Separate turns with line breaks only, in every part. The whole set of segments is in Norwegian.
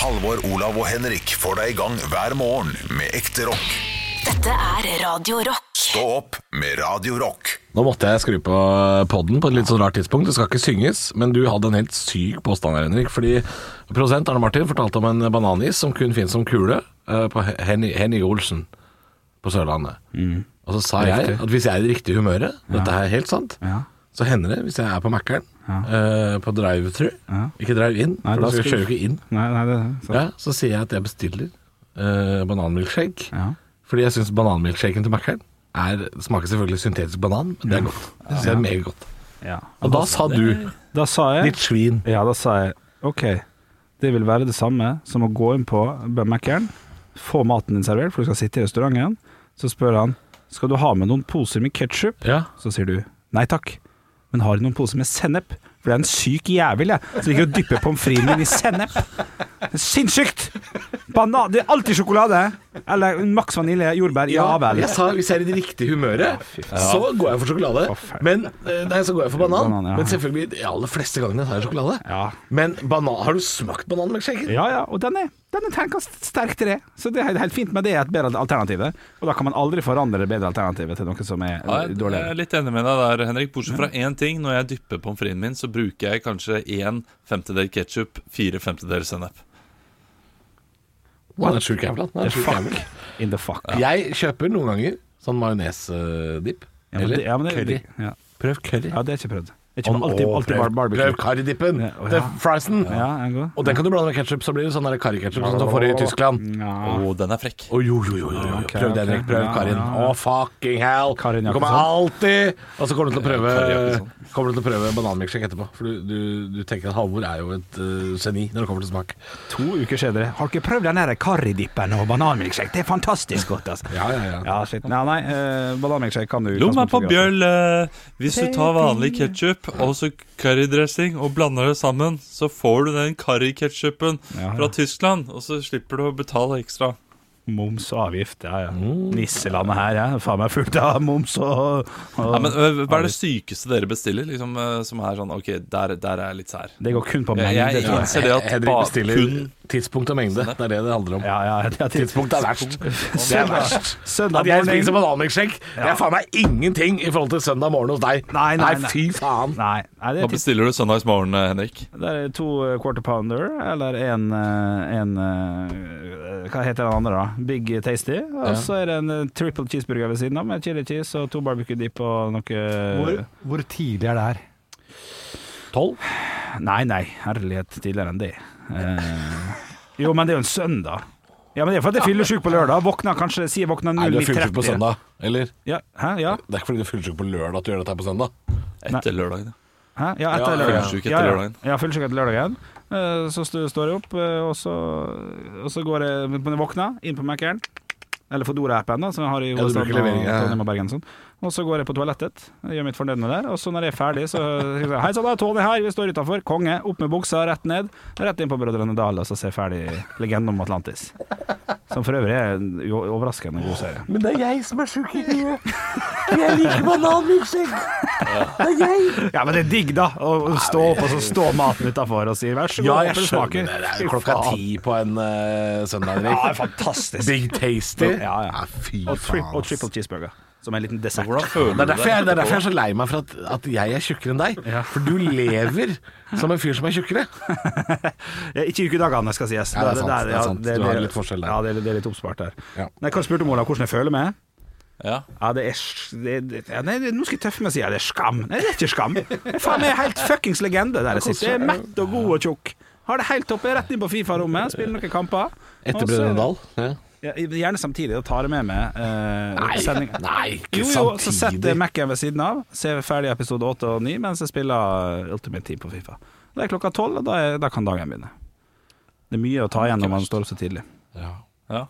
Halvor, Olav og Henrik får deg i gang hver morgen med ekte rock.
Dette er Radio Rock.
Stå opp med Radio Rock.
Nå måtte jeg skru på podden på et litt sånn rart tidspunkt. Det skal ikke synges, men du hadde en helt syk påstand her, Henrik. Fordi produsent Arne Martin fortalte om en bananis som kun finnes som kule eh, på Hen- Henny Olsen på Sørlandet. Og så sa jeg
Mm. Riktig.
at hvis jeg er i det riktige humøret, dette er helt sant,
Ja.
så hender det hvis jeg er på Mækkern, eh, på drive-thru,
Ja.
ikke drive-in,
Nei,
for
da
da skal jeg
skulle-
kjøre ikke inn,
Nei, nei, det er sant.
ja, så sier jeg at jeg bestiller eh, bananmilkshake.
Ja.
Fordi jeg syns bananmilkshaken til Mækkern er- smaker selvfølgelig syntetisk banan, men det er godt. Det synes jeg er meget godt.
Ja.
Og da sa du,
Da sa jeg
ditt svin
Ja, da sa jeg OK, det vil være det samme som å gå inn på Bømmekeren, få maten din servert, for du skal sitte i restauranten. Så spør han skal du ha med noen poser med ketsjup.
ja.
Så sier du nei takk, men har du noen poser med sennep? For det er en syk jævel jeg, som liker å dyppe pommes fritesen min i sennep. Det er Sinnssykt! Banan Det er alltid sjokolade. Eller maks vanilje, jordbær. Ja vel.
Jeg sa hvis jeg er i det riktige humøret, så går jeg for sjokolade.
faen.
Men, eh, nei, så går jeg for banan.
Banan, ja.
Men selvfølgelig, de aller fleste gangene tar jeg sjokolade.
Ja.
Men banan, har du smakt bananmilkshaken?
Ja, ja, og den er, den er terningkast sterk til det. Så det er helt fint, men det er et bedre alternativ. Og da kan man aldri forandre det bedre alternativet til noe som er
Ja, jeg- jeg er
dårligere.
litt enig med deg der, Henrik. Bortsett fra én ting. Når jeg dypper pommes fritesen min, så bruker jeg kanskje én femtedel ketsjup, fire femtedeler sennep.
Han er sjuk jævla. Han er sjuk jævel.
In the fuck.
Jeg kjøper noen ganger sånn majonesdipp.
Ja, men det- ja, men det- Ja.
Prøv curry.
ja, det er ikke prøvd. Jeg kjøper alltid, alltid bar barbecue.
Prøv currydippen.
Ja, å,
Det
ja.
er friesen.
Ja, den er god.
Og den kan du blande med ketsjup, så blir det sånn der curryketsjup som du får i Tyskland.
Ja.
Å, den er frekk.
Å jo, jo, jo, jo, jo.
Ok,
Prøv det,
ok.
Henrik. Prøv
Ja,
Karin.
ja,
Å,
ja.
fucking hell!
Karin
du kommer alltid Og så kommer du til å prøve
Karin Jakobsen.
Kommer du til å prøve bananmilkshake etterpå. For du, du, du tenker at Halvor er jo et eh, geni når det kommer til smak.
To uker senere. Har dere prøvd den der karridippen og bananmilkshake? Det er fantastisk godt, altså.
Ja, ja, ja.
Ja, shit. Nei, nei, eh, bananmilkshake kan du
Lomma på
utgangspunktet gratis.
bjølle. Hvis du tar vanlig ketsjup og så currydressing og blander det sammen, så får du den curryketsjupen
Ja, ja.
fra Tyskland, og så slipper du å betale ekstra.
Moms og avgift, ja ja.
Mm.
Nisselandet her, ja. Faen meg fullt av moms og, og
Ja, men ø, Hva er det sykeste dere bestiller, liksom, ø, som er sånn OK, der, der er jeg litt sær.
Det går kun på
Jeg, jeg
mengde.
innser det at
Henrik
ba,
bestiller
kun Sånn
tidspunkt og mengde. Det er det det handler om.
Ja, ja, det er
Tidspunkt er verst. Det er verst.
Søndag
At jeg
morgen-
spiser bananmilkshake, det er faen meg ingenting i forhold til søndag morgen hos deg.
Nei, nei, nei.
fy faen.
Nei, nei det,
Hva
er tids...
bestiller du søndagsmorgen, eh, Henrik?
det er to eh, quarter pounder, eller en, eh, en eh, Hva heter den andre, da? Big Tasty. Og så er det en eh, triple cheeseburger ved siden av, med chili cheese og to barbecue dip og noe
Hvor, hvor tidlig er det her?
Tolv?
Nei, nei, herlighet, tidligere enn det. Eh, jo, men det er jo en søndag. Ja, men det er for at jeg fyller sjuk på lørdag. Våkner kanskje, sier våkner
Nei, du er fullsjuk på
09.30.
søndag, eller?
Ja, hæ, ja,
Det er ikke fordi du er fullsjuk på lørdag at du gjør dette her på søndag.
Etter lørdagen.
Hæ? Ja,
Ja,
etter lørdagen.
fyllesyk etter
ja, ja.
lørdagen.
Ja, fyllesyk etter lørdagen. Eh, Så stu- står jeg opp, eh, og så, og så går jeg når jeg våkner, inn på Mac-eren. Eller Fodora-appen, da, som jeg har i
du bruker
hovedstaden og
levering, ja.
Trondheim og Bergen. og Sånn. Og så går jeg på toalettet, jeg gjør mitt fornødne der. Og så når jeg er ferdig, så sier jeg Hei sann, det er Tony her, vi står utafor. Konge. Opp med buksa, rett ned. Rett inn på Brødrene Dal, og så ser jeg ferdig Legenden om Atlantis. Som for øvrig er en jo- overraskende god serie.
Men det er jeg som er sjuk i huet. Jeg liker bananmilkshake. Det er jeg.
Ja, men det er digg, da. Å å stå opp, og så står maten utafor og sier Vær så god,
Ja, jeg
håper det
skjønner
smaker.
det. Det
Fy
er klokka
faen.
ti på en eh, søndag,
Ja, det er
Henrik.
fantastisk.
Big tasty.
Ja, ja.
fy
Og, tri
faen.
og triple cheeseburger, som er en liten dessert.
Hvordan føler
Det
du
er, derfor jeg, det er derfor jeg er så lei meg for at, at jeg er tjukkere enn deg. For du lever som en fyr som er tjukkere.
Ja, ikke ukedagene, skal sies.
Ja, det er
Der-
sant,
der-
det er
ja,
sant. Du har litt forskjell der.
Ja, det er, det er litt oppspart der.
Ja.
Nei, Hva spurte du om, Olav, hvordan jeg føler meg?
Ja.
Ja, det er, s- det, det, ja, nei, det- Nå skal jeg tøffe meg og si ja, det er skam. Nei, det er ikke skam. Jeg er faen meg helt fuckings legende der jeg sitter. Jeg er mett og god og tjukk. Har det helt topp. Jeg er rett inn på Fifa-rommet, spiller noen kamper.
Etter
Og så-
Brødrene Dal. Ja.
Ja, gjerne samtidig. Da tar jeg med meg eh, sendinga.
nei, ikke
Jo, jo, så setter
samtidig.
jeg Mac-en ved siden av, ser ferdig episode 8 og 9 mens jeg spiller eh, Ultimate Team på Fifa. Det er klokka 12, og da, er, da kan dagen begynne. Det er mye å ta igjen når man står opp så tidlig.
Ja.
Ja.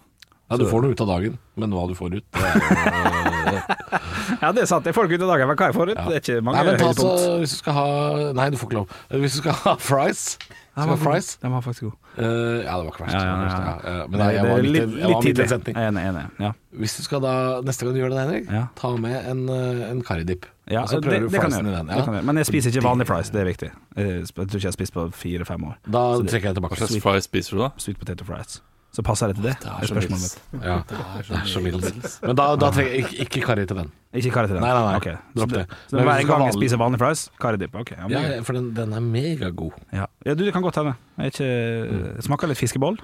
Ja, du får noe ut av dagen, men hva du får ut det er jo, eh,
Ja, det er sant. Det er folk ute i dag. Jeg vet hva jeg får ut. Det er ikke mange
Nei, men ta
høydepunkt.
så Hvis du skal ha Nei, du får ikke lov. Eh, Hvis du skal ha fries
Den
Skal
var
ha fries
god. Den var faktisk god.
eh, Ja, det var ikke verst.
Ja, ja,
det var
ja,
ikke
ja.
verst, ja. Eh, Men
Nei,
jeg, jeg
det
var
er
midt, i- jeg var midt i en
tidlig.
setning.
Jeg er Enig, enig. Ja.
Hvis du skal da Neste gang du gjør det, Henrik,
Ja.
ta med en, eh, en karidip.
Ja,
og så
det,
prøver du
det kan jeg
friesen i
gjøre.
den.
Det kan
Ja.
jeg gjøre. Men jeg spiser ikke vanlig fries, det er viktig. Jeg sp- jeg tror ikke jeg har spist på fire-fem år.
Da trekker jeg
Hva
tilbake.
slags fries spiser du, da?
Sweet potato fries. Så passer det til det? Det er spørsmålet mitt.
Ja. Det er så middels. Men da, da trekker jeg ikke, ikke karri til den.
Ikke karri til den?
Nei, nei, nei.
Ok,
Dropp
så
det. Men
Så
hvis
hver
du skal
gang jeg
vanlig-
spiser vanlig fries, karridip. Ok. Ja,
Ja,
men-
for den, den er megagod.
ja. ja, du, det kan godt hende. Jeg er ikke
Mm.
det Smaker litt fiskeboll.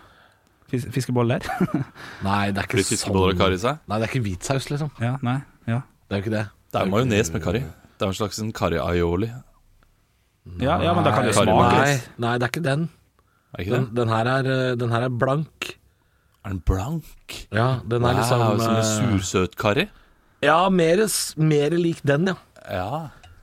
Fis fiskeboller.
Nei, det er ikke
Blir fiskeboller og karri i
sånn.
seg?
Nei, det er ikke hvitsaus, liksom.
Ja, nei. Ja.
Det er jo ikke det.
Det er majones med karri. Det er en slags en karri-aioli.
Ja, ja, men da kan det
Nei,
smake
Nei,
litt.
nei, det er ikke den.
Er ikke
Den,
det?
den, her, er, eh, den her er blank.
Er den blank?
Ja, den er
Wow,
liksom
som en
eh,
sursøt karri?
Ja, mer, s- mer lik den, ja.
Ja.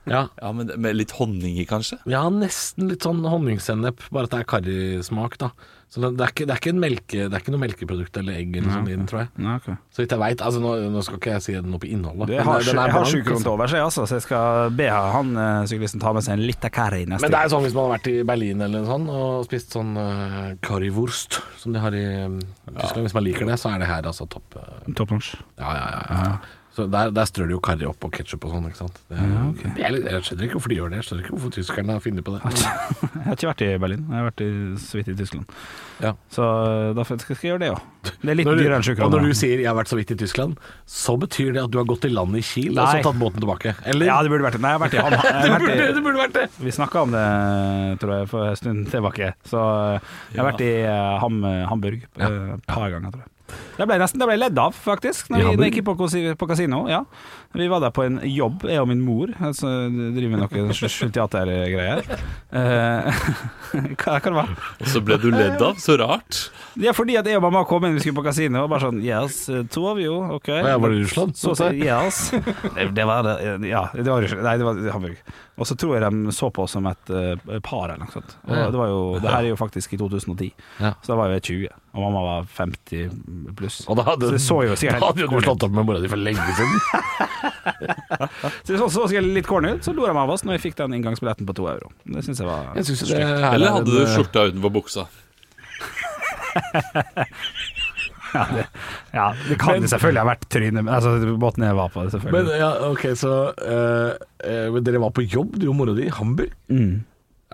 ja.
ja, men det- med litt honning i, kanskje?
Ja, nesten litt sånn honningsennep, bare at det er karrismak, da. Så det, det, er ikke, det, er ikke en melke, det er ikke noe melkeprodukt eller egg eller sånn i den, tror jeg.
Nei, ok.
Så vidt jeg veit. Altså, nå, nå skal ikke jeg si noe på innholdet.
Jeg har,
men
jeg har
blank,
sju kroner
altså.
over seg, altså, så jeg skal be han eh, syklisten ta med seg en liten curry neste
Men det er sånn hvis man har vært i Berlin eller noe sånt og spist sånn uh, currywurst som de har i eh, Tyskland. Hvis man liker det, så er det her altså topp. eh,
gang. Topplunsj.
Ja, ja, ja. ja. Så der, der strør de jo karri opp og ketsjup og sånn, ikke sant. Det, er- jeg, jeg skjønner ikke hvorfor de gjør det. Jeg skjønner ikke hvorfor tyskerne har funnet på det.
Jeg har ikke vært i Berlin, jeg har vært i, så vidt i Tyskland.
Ja.
Så da skal skal jeg gjøre det òg. Det er litt
Når du,
dyrere enn sju
og når
kroner.
du sier 'jeg har vært så vidt i Tyskland', så betyr det at du har gått i land i Kiel og
Nei.
så tatt båten tilbake? Eller?
Ja, det burde vært det. Nei, jeg har vært i Hamar. Jeg har
det,
vært i-
det burde vært det!
Vi snakka om det, tror jeg, for en stund tilbake. Så jeg har vært i eh, ham, Hamburg eh, et par ganger, tror jeg. Det ble jeg nesten det ble jeg ledd av, faktisk,
I
når vi
Hamburg?
når jeg gikk på, kosi- på kasino. Ja. Vi var der på en jobb, jeg og min mor, altså, driver med noe skjult teatergreier. Eh, Hva hva det var
Og så ble du ledd av? Så rart.
Ja, fordi at jeg og mamma kom inn, vi skulle på kasino, og bare sånn Yes, two of you, ok.
ja, var det i Russland? Sånn,
Så sa jeg, yes. Det, det var det. Ja, det var Russland. Nei, det var Hamburg. Og så tror jeg de så på oss som et eh, par eller noe sånt. Og
Ja.
det var jo Det her er jo faktisk i 2010,
Ja.
så da var jo jeg 20, og mamma var 50 pluss.
Og da hadde,
Så det så jo
da
sikkert helt
hadde jo du
corny ut.
slått opp med mora di for lenge siden.
Så det så, så sikkert litt corny ut, så lo de av oss når jeg fikk den inngangsbilletten på to euro. Det syns jeg var
Jeg synes det her er
Eller hadde
en,
du
eh,
skjorta utenfor buksa?
Ja, det kan jo selvfølgelig ha vært trynet men- Altså båten jeg var på,
Men
selvfølgelig.
ja, ok, så eh, eh, men Dere var på jobb, du og mora di, i Hamburg?
Mm.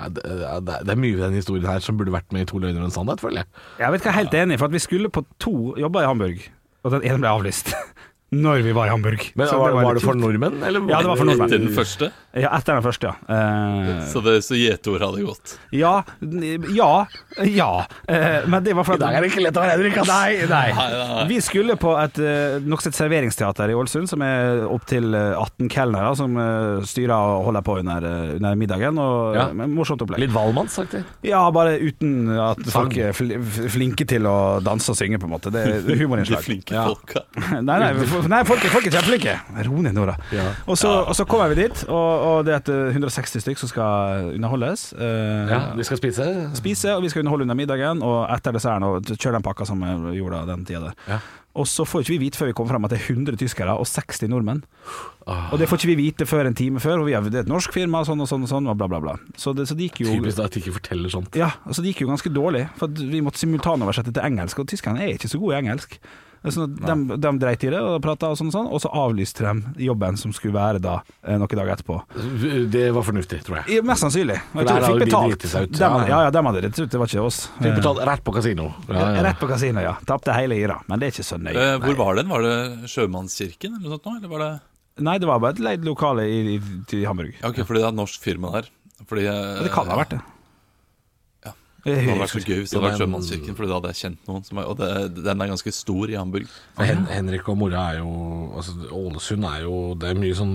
Ja, det, ja, det er- det er mye ved den historien her som burde vært med i To løgner og en sannhet, føler jeg.
Jeg vet ikke, jeg er helt enig, for at vi skulle på to jobber i Hamburg, og den ene ble avlyst. Når vi var i Hamburg.
Men
Så
var, var
litt
det for
kjipt.
nordmenn? Eller
Ja, det var for nordmenn.
Etter den første?
Ja, etter den første, ja. Eh,
Så, det- så gjeteordet hadde gått.
ja, n- ja, ja. Eh, men det var for
I dag er det ikke lett å være Henrik, ass!
Nei, nei.
Nei, nei, nei.
Vi skulle på et eh, nokså et serveringsteater i Ålesund, som er opptil 18 kelnere som eh, styrer og holder på under, eh, under middagen. Og, eh,
Ja.
men Morsomt opplegg.
Litt Valmannsaktig.
Ja, bare uten at
Sang.
folk er fl flinke til å danse og synge, på en måte. Det er
De
humorinnslag.
flinke
Ja.
folka.
Nei, nei, for- nei folk, er- folk er kjempeflinke. Ro ned nå, da.
Ja.
Og, så, og så kommer vi dit, og, og det er et eh, 160 stykk som skal underholdes. Eh,
Ja, vi skal spise.
Spise, og vi skal underholde under middagen, og etter desserten og kjøre den pakka som jeg gjorde den tida der.
Ja.
Og så får ikke vi vite før vi kommer fram at det er 100 tyskere og 60 nordmenn.
Ah.
Og det får ikke vi vite før en time før, og vi er, det er et norsk firma, sånn og sånn og sånn, og bla, bla, bla. Så det, så det gikk jo
Typisk da at de ikke forteller sånt.
ja, altså det gikk jo ganske dårlig, for at vi måtte simultanoversette til engelsk, og tyskerne er ikke så gode i engelsk. Sånn at de, de dreit i det og prata og sånn, og sånn, og så avlyste de jobben som skulle være da eh, noen dager etterpå.
Det var fornuftig, tror jeg.
Ja, Mest sannsynlig. Og
For
Jeg
der
tror de
hadde de
fikk betalt.
driti seg ut.
De,
Ja, ja.
ja, ja, de hadde dritt seg ut, det var ikke oss.
Fikk
Eh,
betalt rett på kasino.
Rett på kasino, ja. Tapte hele gira, men det er ikke så nøye.
Eh, hvor var den? Var det Sjømannskirken eller noe sånt? nå, Eller var det
Nei, det var bare et leid lokale i, i, i Hamburg.
Ja, ok, fordi det er et norsk firma der. Fordi, eh,
Men Det kan ha vært det.
Ja.
Jeg
Det
husker
hadde vært så
ikke.
gøy hvis det hadde vært Sjømannskirken, Fordi da hadde jeg kjent noen. Som er, og det, den er ganske stor i Hamburg.
Hen Henrik og mora er jo altså, Ålesund er jo Det er mye sånn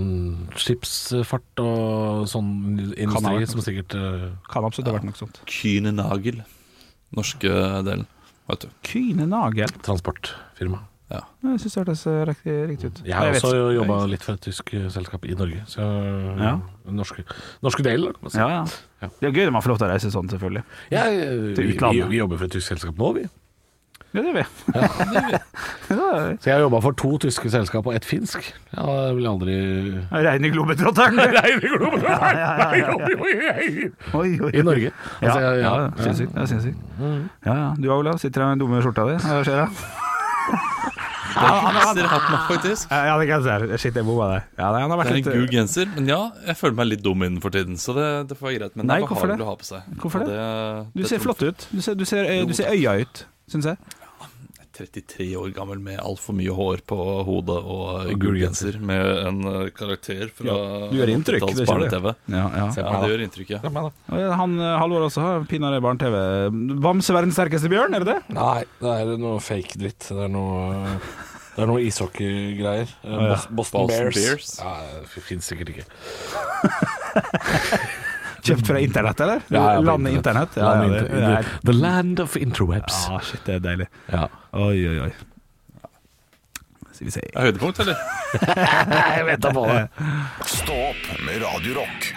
skipsfart og sånn
Kan ha
industri
vært.
som sikkert eh,
Kan absolutt ha vært noe sånt.
Kühnenagel. Norske delen, vet du.
Kyne nagel.
transportfirma.
Ja.
Jeg syns det hørtes eh, riktig, riktig ut.
Jeg har
vet
også
ikke.
jobba litt for et tysk eh, selskap i Norge. Så
Ja.
den norske, norske delen, da, kan man si.
Ja, ja. Det er gøy når man får lov til å reise sånn, selvfølgelig.
Jeg, eh,
Til
vi, vi,
utlandet.
vi jobber for et tysk selskap nå, vi.
Ja, det er vi.
Så jeg har jobba for to tyske selskap og ett finsk. Ja, det vil jeg aldri
Rein i globetrotteren. Oi, oi, oi.
I Norge.
Ja,
Altså, jeg-
ja,
ja,
ja, sinnssykt. Ja, sinnssykt. Ja, ja. Du Olav, sitter her med den dumme skjorta di. Hva skjer da? Ah,
Jeg ser hatten opp, faktisk.
Ja, det kan jeg si. Shit, jeg bomma der. Ja, nei, han har
Det er
vært
en gul
litt eh,
genser, men ja, jeg føler meg litt dum innenfor tiden. Så det, det får være greit. Men
Nei,
det er
hvorfor det?
behagelig å ha på seg.
Hvorfor
Og
det?
det-
eh, Du
det
ser
tror-
flott ut. Du ser, du ser, eh, du ser øya ut, syns jeg.
33 år gammel med altfor mye hår på hodet og
Og
gul
gul
genser med en eh, karakter fra
du gjør inntrykk, det skjønner jeg.
barne-TV.
Ja, ja.
Ja, det gjør inntrykk, ja.
Og Han eh, Halvor også har pinadø barne-TV. Bamse verdens sterkeste bjørn, er det det?
Nei, det er noe fake dritt. Det er noe det er noe ishockeygreier. Eh, Bos- Boston,
Boston
Bears.
Bears.
Ja, det fins sikkert ikke.
Kjøpt fra internett, eller?
Ja, ja, på
Landet internett. Ja, ja,
Landet
det,
inter-
det er.
The land of interwebs.
Ah, shit, det er deilig.
Ja.
Oi, oi, oi. Skal vi se
Er høydepunkt, eller?
Jeg vet da på det.
Stå opp med Radio Rock.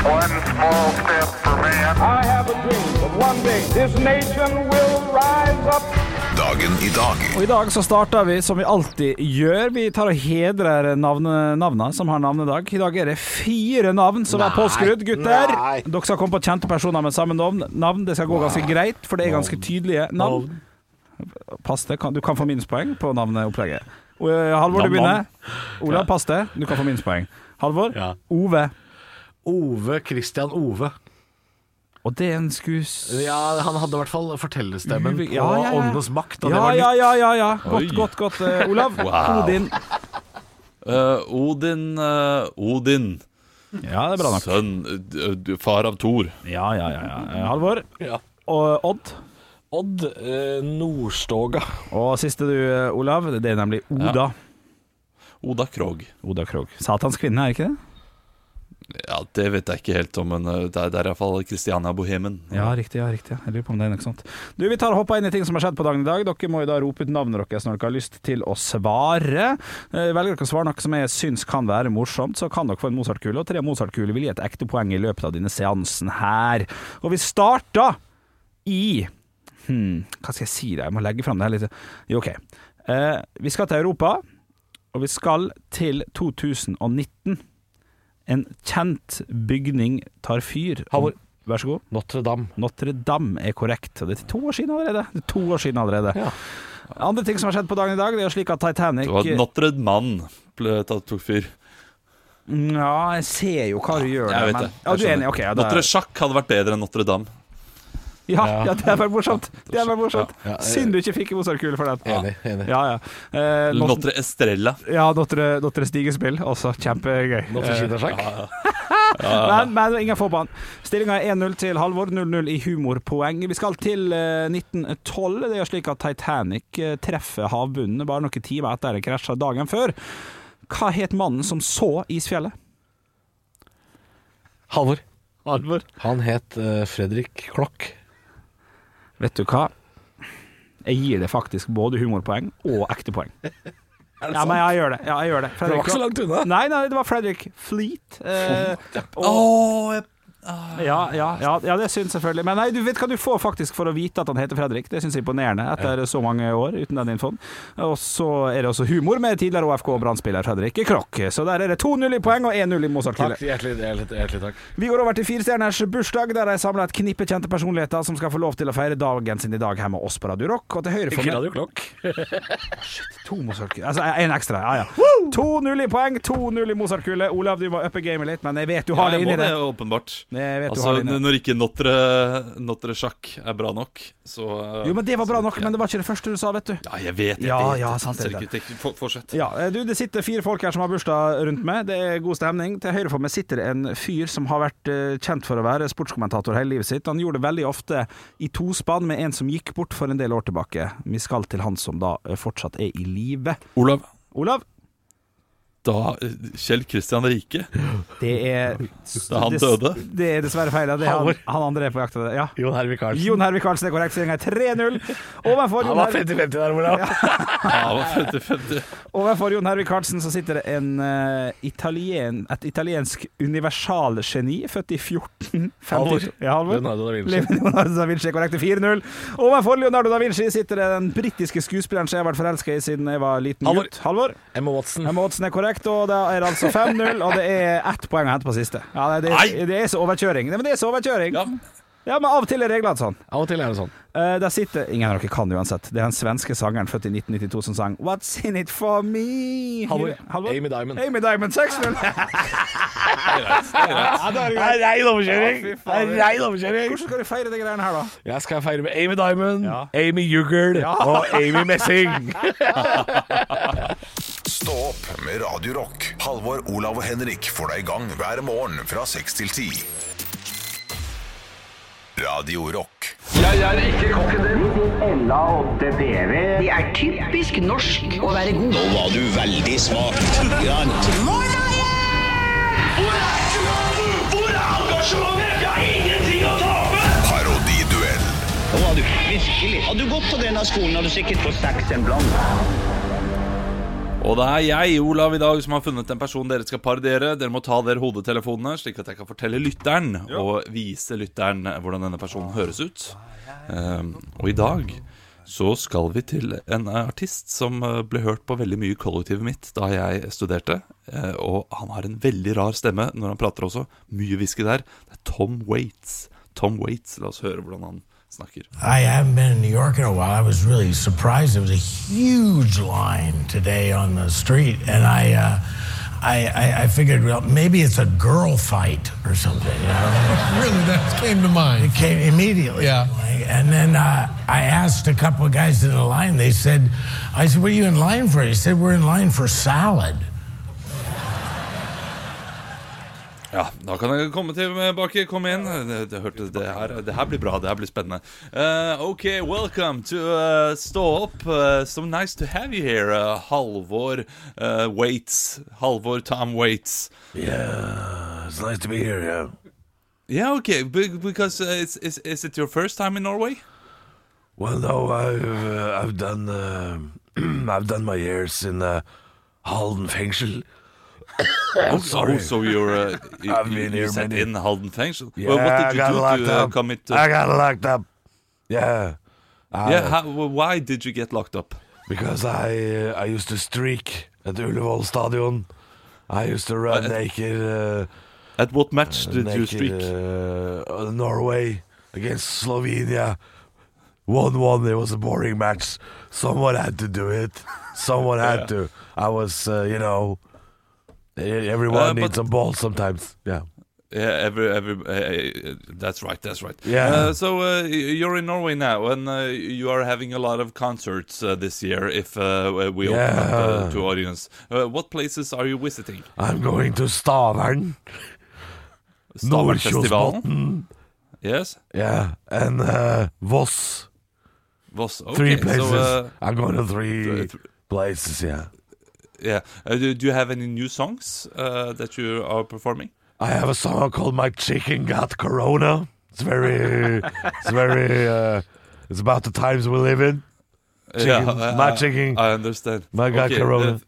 One small step for man.
I have a dream that one day this nation will rise up.
Dagen i dag
Og I dag så starter vi som vi alltid gjør. Vi tar og hedrer navne, navna som har navnedag. I dag er det fire navn som er
Nei,
påskrudd, gutter.
nei.
Dere skal komme på kjente personer med samme navn. navn. Det skal gå ganske greit, for det er ganske tydelige navn. Pass det, kan- du kan få minuspoeng på navneopplegget. Og, eh, Halvor, du
Nam, nam.
begynner. Olav, pass det. Du kan få minuspoeng. Halvor.
Ja.
Ove.
Ove Christian Ove.
Og det er en skues...
Ja, han hadde i hvert fall fortellerstemmen
Uve-
på
ja, ja, ja.
Åndenes makt. Og det
Ja,
var
ja,
nytt.
ja, ja, ja.
Oi.
Godt, godt, godt. Eh, Olav.
Wow.
Odin.
Eh, Odin, eh, Odin,
Ja, det er bra nok.
sønn, eh, d- far av Thor.
Ja, ja, ja. ja. Eh, Halvor.
Ja.
Og Odd.
Odd eh, Nordstoga.
Og siste du, eh, Olav, det er nemlig Oda.
Oda Krog.
Oda Krog. Satans kvinne, er det ikke det?
Ja, det vet jeg ikke helt om, men eh, det er, det er iallfall Christiania Bohemen.
Ja, riktig. ja, riktig. Jeg lurer på om det er noe sånt. Du, Vi tar og hopper inn i ting som har skjedd på dagen i dag. Dere må jo da rope ut navnet deres når dere har lyst til å svare. Eh, Velger dere å svare noe som jeg syns kan være morsomt, så kan dere få en Mozart-kule. Og tre Mozart-kuler vil gi et ekte poeng i løpet av denne seansen her. Og vi starter i hmm, Hva skal jeg si da? Jeg må legge fram det her litt. Jo, OK. Eh, vi skal til Europa, og vi skal til 2019. En kjent bygning tar fyr.
Halvor.
Vær så god.
Notre-Dame.
Notre-Dame er korrekt. Og det er to år siden allerede. Det er to år siden allerede.
Ja.
Andre ting som har skjedd på dagen i dag, det er jo slik at Titanic
Det var Notre Dame ble tatt tok fyr.
Ja, jeg ser jo hva du gjør der,
Jeg vet
men-
det.
Ja, du er
Jeg
enig?
skjønner.
Ok, ja, da-
Notre Sjakk hadde vært bedre enn Notre Dame.
ja, ja, det er vel morsomt. Det er vel morsomt.
Ja, ja, jeg-
Synd du ikke fikk en Mozart-kule for den.
Enig. enig.
Ja, ja. Eh,
Eller
Not-
Notre Estrella.
ja, Notre, Notre Stigespill, også kjempegøy.
Notre Kindersjakk.
Men, men ingen får på han. Stillinga er 1-0 til Halvor, 0-0 i humorpoeng. Vi skal til eh, 1912. Det er slik at Titanic eh, treffer havbunnen bare noen timer etter den krasja dagen før. Hva het mannen som så isfjellet?
Halvor. Han het eh, Fredrik Klokk.
Vet du hva? Jeg gir det faktisk både humorpoeng og ekte poeng. Ja, men jeg gjør det. Ja, jeg gjør det.
Det var ikke så langt unna.
Nei, nei, det var Fredrik Fleet. eh,
Å,
og,
jeg
ja, ja, ja, ja, det syns selvfølgelig. Men nei, du vet hva du får faktisk for å vite at han heter Fredrik. Det syns jeg er imponerende etter så mange år uten den infoen. Og så er det også humor med tidligere OFK og Brann-spiller Fredrik Krokk. Så der er det 2-0 i poeng og 1-0 i Mozart-kule.
Hjertelig, hjertelig, hjertelig takk.
Vi går over til firestjerners bursdag, der de samler et knippe kjente personligheter som skal få lov til å feire dagen sin i dag her med oss på Radio Rock. Og til høyre for
Ikke
meg
Radio Klokk.
to Mozart-kuler. Altså en ekstra. Ja, ja. 2-0 i poeng, 2-0 i Mozart-kule. Olav, du må uppe gamet litt, men jeg vet du har
Ja,
det
jeg må
inni
det,
deg.
åpenbart.
Jeg vet du
Altså,
har det inni deg.
når ikke Notre, notre Sjakk er bra nok, så eh,
Jo, men det var bra nok, men det var ikke det første du sa, vet du.
Ja, jeg vet, jeg
Ja,
vet.
ja, sant, det er
Selv ikke tenk- for- Fortsett.
Ja, eh, du, Det sitter fire folk her som har bursdag rundt meg. Det er god stemning. Til høyre for meg sitter en fyr som har vært eh, kjent for å være sportskommentator hele livet sitt. Han gjorde det veldig ofte i tospann med en som gikk bort for en del år tilbake. Vi skal til han som da eh, fortsatt er i live.
Olav.
Olav?
da eh, Kjell Kristian Rike.
Det er
Da han døde.
Det er dessverre feil. ja. Det er han,
Halvor.
han andre er på jakt etter. Ja.
Jon Hervik
Jon Hervik Karlsen er korrekt. Stillingen er 3-0. Overfor, Jon Her-
50-50 der, Olav.
Ja, han var 50-50.
overfor Jon Hervik Karlsen så sitter det en, eh, italien, et italiensk universalgeni, født i 1450.
Halvor.
Ja, Halvor.
Leonardo da Vinci.
Leonardo da Vinci er korrekt til 4-0. Overfor Leonardo da Vinci sitter det den britiske skuespilleren som jeg har vært forelska i siden jeg var liten
Halvor.
gutt. Halvor.
Emma Watson.
Ja, Måtsen er korrekt, og da er det altså 5-0, og det er ett poeng å hente på siste. Ja, det, det,
Nei!
det er så overkjøring. Nei, men det er så overkjøring.
Ja.
Ja, men av og til er reglene sånn.
Av og til er det sånn.
Eh, der sitter Ingen av dere kan det uansett. Det er den svenske sangeren født i 1992 som sang What's in it for me?
Halvor.
Halvor?
Amy Diamond.
Amy Diamond 6-0.
Rein overkjøring!
Ja, fy faen. Det er
Rein overkjøring!
Hvordan skal du feire de greiene her, da?
Jeg skal feire med Amy Diamond, Amy Jugel og Amy Messing.
Stå opp med Radio Rock. Halvor, Olav og Henrik får deg i gang hver morgen fra 6 til 10. Radio Rock. Parodiduell.
Og det er jeg, Olav, i dag som har funnet en person dere skal parodiere. Dere må ta dere hodetelefonene, slik at jeg kan fortelle lytteren og vise lytteren hvordan denne personen høres ut. Um, og i dag så skal vi til en artist som eh, ble hørt på veldig mye i kollektivet mitt da jeg studerte. Eh, Og han har en veldig rar stemme når han prater også. Mye hviske der. Det er Tom Waits. Tom Waits, la oss høre hvordan han snakker.
I haven't been in New York in a while. I was really surprised. There was a huge line today on the street, and I, uh, I, I, I figured, well, maybe it's a girl fight or something. You know? really, that came to mind. It came immediately. Yeah. And then uh, I asked a couple of guys in the line. They said, "I said, what are you in line for?" He said, "We're in line for salad."
Ja, da kan jeg komme tilbake. Kom inn. Det, det, hørte, det, her, det her blir bra. Det her blir spennende. Eh, OK, welcome to uh, Stå opp. Eh, so nice to have you here, eh, Halvor eh, Waits. Halvor Tom Waits.
It's nice to be here. Yeah.
Yeah, OK, be- because eh, it's, is, is it your first time in Norway?
Well, no, I've uh, I've done uh, I've done my years in uh, Halden Fengsel.
Oh, sorry. so you're, uh, you,
I've
you,
been
you
here
set
many-
in Halden Fengsel?
Yeah,
well, what
I
did
got
you do
locked
to uh,
up.
commit?
I
Uh,
got locked up. Yeah. I-
yeah, how, why did you get locked up?
because I uh, I used to streak at Ullevål Stadion. I used to run
Uh,
naked. Uh,
At what match did you
naked,
streak?
Uh, Norway against Slovenia. 1 1. It was a boring match. Someone had to do it. Someone had to. I was, uh, you know, e- everyone
Uh, but-
needs a ball sometimes. Yeah.
Yeah, every every uh, uh, that's right, that's right.
Yeah.
Uh, so uh, y- you're in Norway now, and uh, you are having a lot of concerts uh, this year. If uh, we open up uh,
Yeah.
to audience, uh, what places are you visiting?
I'm going to Stavern.
Stavern Festival.
Nordkjosbotn.
Yes.
Yeah. And uh, Voss.
Voss. Okay.
Three places.
So, uh,
I'm going to three
th- th-
places, yeah.
yeah. Uh, do, do you have any new songs uh, that you are performing?
I have a song called "My Chicken Got Corona." It's very, it's very, uh, it's about the times we live in. Chicken.
uh,
My
I-
chicken.
I understand.
My God,
Okay,
Corona.
uh,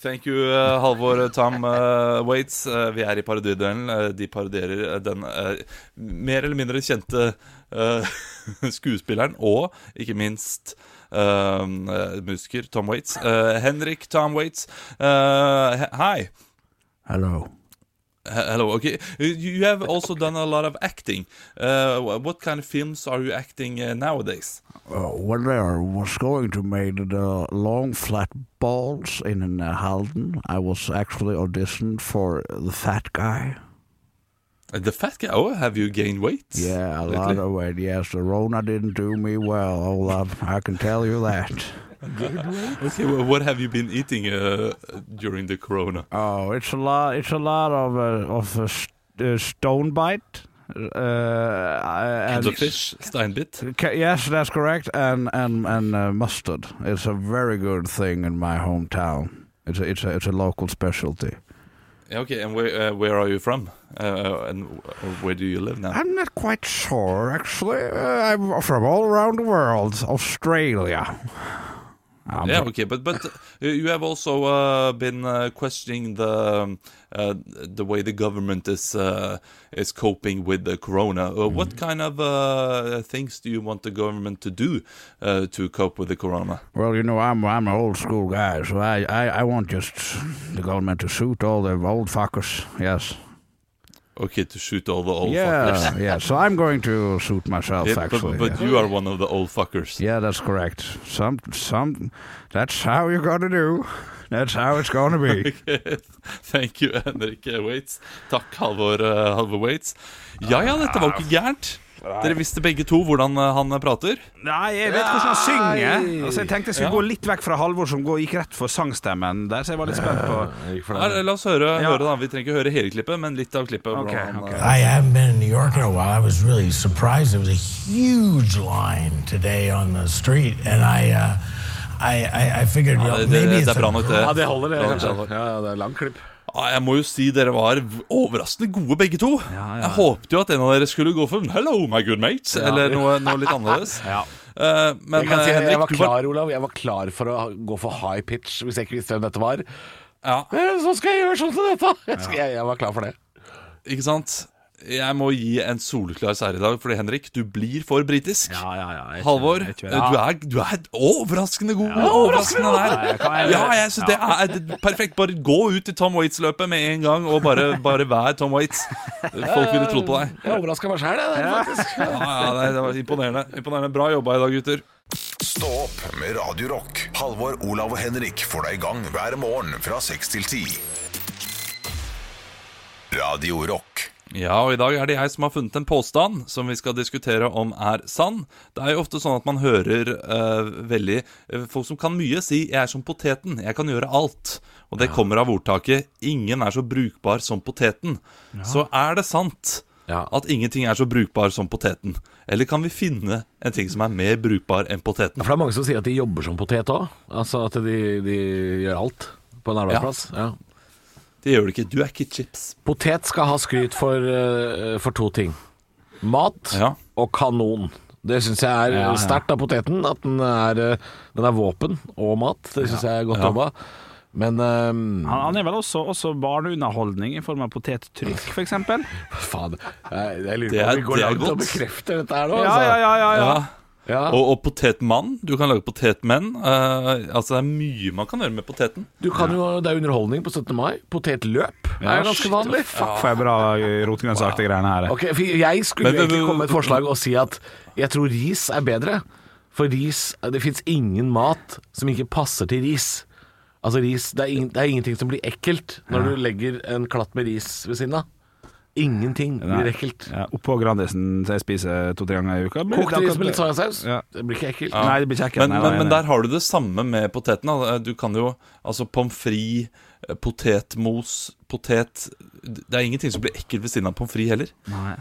Thank you, eh, Halvor eh, Tom eh, Waits. Eh, vi er i parodiduellen. Eh, de parodierer eh, den eh, mer eller mindre kjente eh, skuespilleren og ikke minst eh, eh, musiker Tom Waits. Eh, Henrik Tom Waits. eh, he- hi.
Hello.
He- Hello. Okay, you you have also done a lot of acting. Eh, wh- what kind of films are you acting eh, nowadays?
Uh, well, there was going to make the long flat balls in uh, Halden. I was actually auditioned for the fat guy.
Eh, The Fat Guy. Oh, have you gained weight?
Yeah, a lot
lately?
of weight. Yes, the Rona didn't do me well, Olaf. I can tell you that.
Okay, well, what have you been eating eh, during the corona?
Oh, it's a lot. It's a lot of uh, of uh, st- uh, stone bite. Uh, and
The fish, Steinbit.
Ca- Yes, that's correct. And and and uh, mustard. It's a very good thing in my hometown. It's a, it's a, it's a local specialty.
Yeah, okay, and where, uh, where are you from? Uh, and where do you live now?
I'm not quite sure, actually. Uh, I'm from all around the world. Australia. I'm
Yeah, okay, but but uh, you have also uh, been uh, questioning the um, uh, the way the government is uh, is coping with the corona.
Mm-hmm.
Uh, what kind of uh, things do you want the government to do uh, to cope with the corona?
Well, you know, I'm I'm an old school guy, so I, I, I want just the government to shoot all the old fuckers. Yes.
Okay, to shoot all the old
yeah,
fuckers.
yeah. So I'm going to shoot myself,
Yeah, but-
actually.
but
yeah.
you are one of the old fuckers.
Yeah, that's correct. Some some. That's how you're gonna do. That's how it's gonna be.
Thank you, Henrik Waits. Takk, Halvor, eh, Halvor Waits. Ja ja, dette var jo ikke gærent. Dere visste begge to hvordan eh, han prater.
Nei, jeg vet hvordan han synger. Altså, jeg tenkte jeg skulle gå litt vekk fra Halvor, som går, gikk rett for sangstemmen der, så jeg var litt spent på
Gikk for
Her,
det.
la oss høre,
Ja.
høre da. Vi trenger ikke høre hele klippet, men litt av klippet. hvordan
Ok,
han,
ok.
eh,
I haven't been in New York in a while. I was really surprised. There was a huge line today on the street, and I, uh, I, I, I figured well,
eh, det, det,
maybe it's
det er bra
a
nok, det.
Ja, det holder, det.
Bra nok,
kanskje.
Halvor.
Ja, det er lang klipp.
Ja, jeg må jo si dere var v- overraskende gode begge to. Jeg håpte jo at en av dere skulle gå for 'hello, my good mate', eller noe, noe litt annerledes. Eh, men
Jeg kan si,
eh,
jeg var
Henrik, du var
klar, Olav. Jeg var klar for å ha- gå for high pitch hvis jeg ikke visste hvem dette var.
ja,
Eh, Så skal jeg gjøre sånn som dette! Jeg, skal, jeg, jeg var klar for det.
Ikke sant? Jeg må gi en soleklar seier i dag, fordi Henrik, du blir for britisk.
Ja, ja, ja, jeg kjenner-
Halvor,
jeg kjenner-
du er, du er overraskende god. overraskende
Ja, jeg
der.
kan- jeg-
Ja, jeg synes det er, det er perfekt. Bare gå ut i Tom Waits-løpet med en gang, og bare, bare vær Tom Waits. Folk ville trodd på deg.
Jeg overraska meg sjæl, jeg. faktisk.
Ja, ja, det- det var imponerende. imponerende. Bra jobba i dag, gutter.
Stå opp med Radio Rock. Halvor, Olav og Henrik får deg i gang hver morgen fra 6 til 10. Radio Rock.
Ja, og i dag er det jeg som har funnet en påstand som vi skal diskutere om er sann. Det er jo ofte sånn at man hører eh, veldig eh, Folk som kan mye, si 'jeg er som poteten', 'jeg kan gjøre alt'. Og det kommer av ordtaket 'ingen er så brukbar som poteten'. Så er det sant
Ja.
at ingenting er så brukbar som poteten? Eller kan vi finne en ting som er mer brukbar enn poteten?
For det er mange som sier at de jobber som potet òg. Altså at de, de gjør alt på en arbeidsplass. Ja.
Det gjør det ikke. Du er ikke chips.
Potet skal ha skryt for, eh, for to ting. Mat
Ja.
og kanon. Det syns jeg er
ja.
sterkt av poteten. At den er, eh, den er våpen og mat. Det syns jeg er godt
Ja.
jobba. Men eh,
Han, han er vel også, også barneunderholdning i form av potettrykk, f.eks.
faen Jeg, jeg lurer
Det
på
er-
om vi går
det er
langt og
godt.
bekrefter dette her nå.
Ja,
altså.
ja, ja, ja, ja.
Ja.
Ja.
Og, og potetmann. Du kan lage potetmenn. Eh, altså, det er mye man kan gjøre med poteten.
Du kan jo, Det er underholdning på 17. mai. Potetløp er jo ganske vanlig.
Fuck, får jeg bra rotgrønnsaktige greiene her.
Ok, for Jeg skulle
Men- men-
egentlig
men-
komme med et forslag og si at jeg tror ris er bedre. For ris Det fins ingen mat som ikke passer til ris. Altså ris, det er, ing, det er ingenting som blir ekkelt når du legger en klatt med ris ved siden av. Ingenting blir ekkelt.
Ja, Oppå Grandisen som jeg spiser to-tre ganger i uka. blir
Kokt
det
ris
akkurat-
med litt soyasaus,
Ja.
det blir ikke ekkelt.
Nei, det blir kjekkere.
Men, men, men der har du det samme med poteten. da. Du kan jo altså pommes frites, eh, potetmos, potet Det er ingenting som blir ekkelt ved siden av pommes frites heller.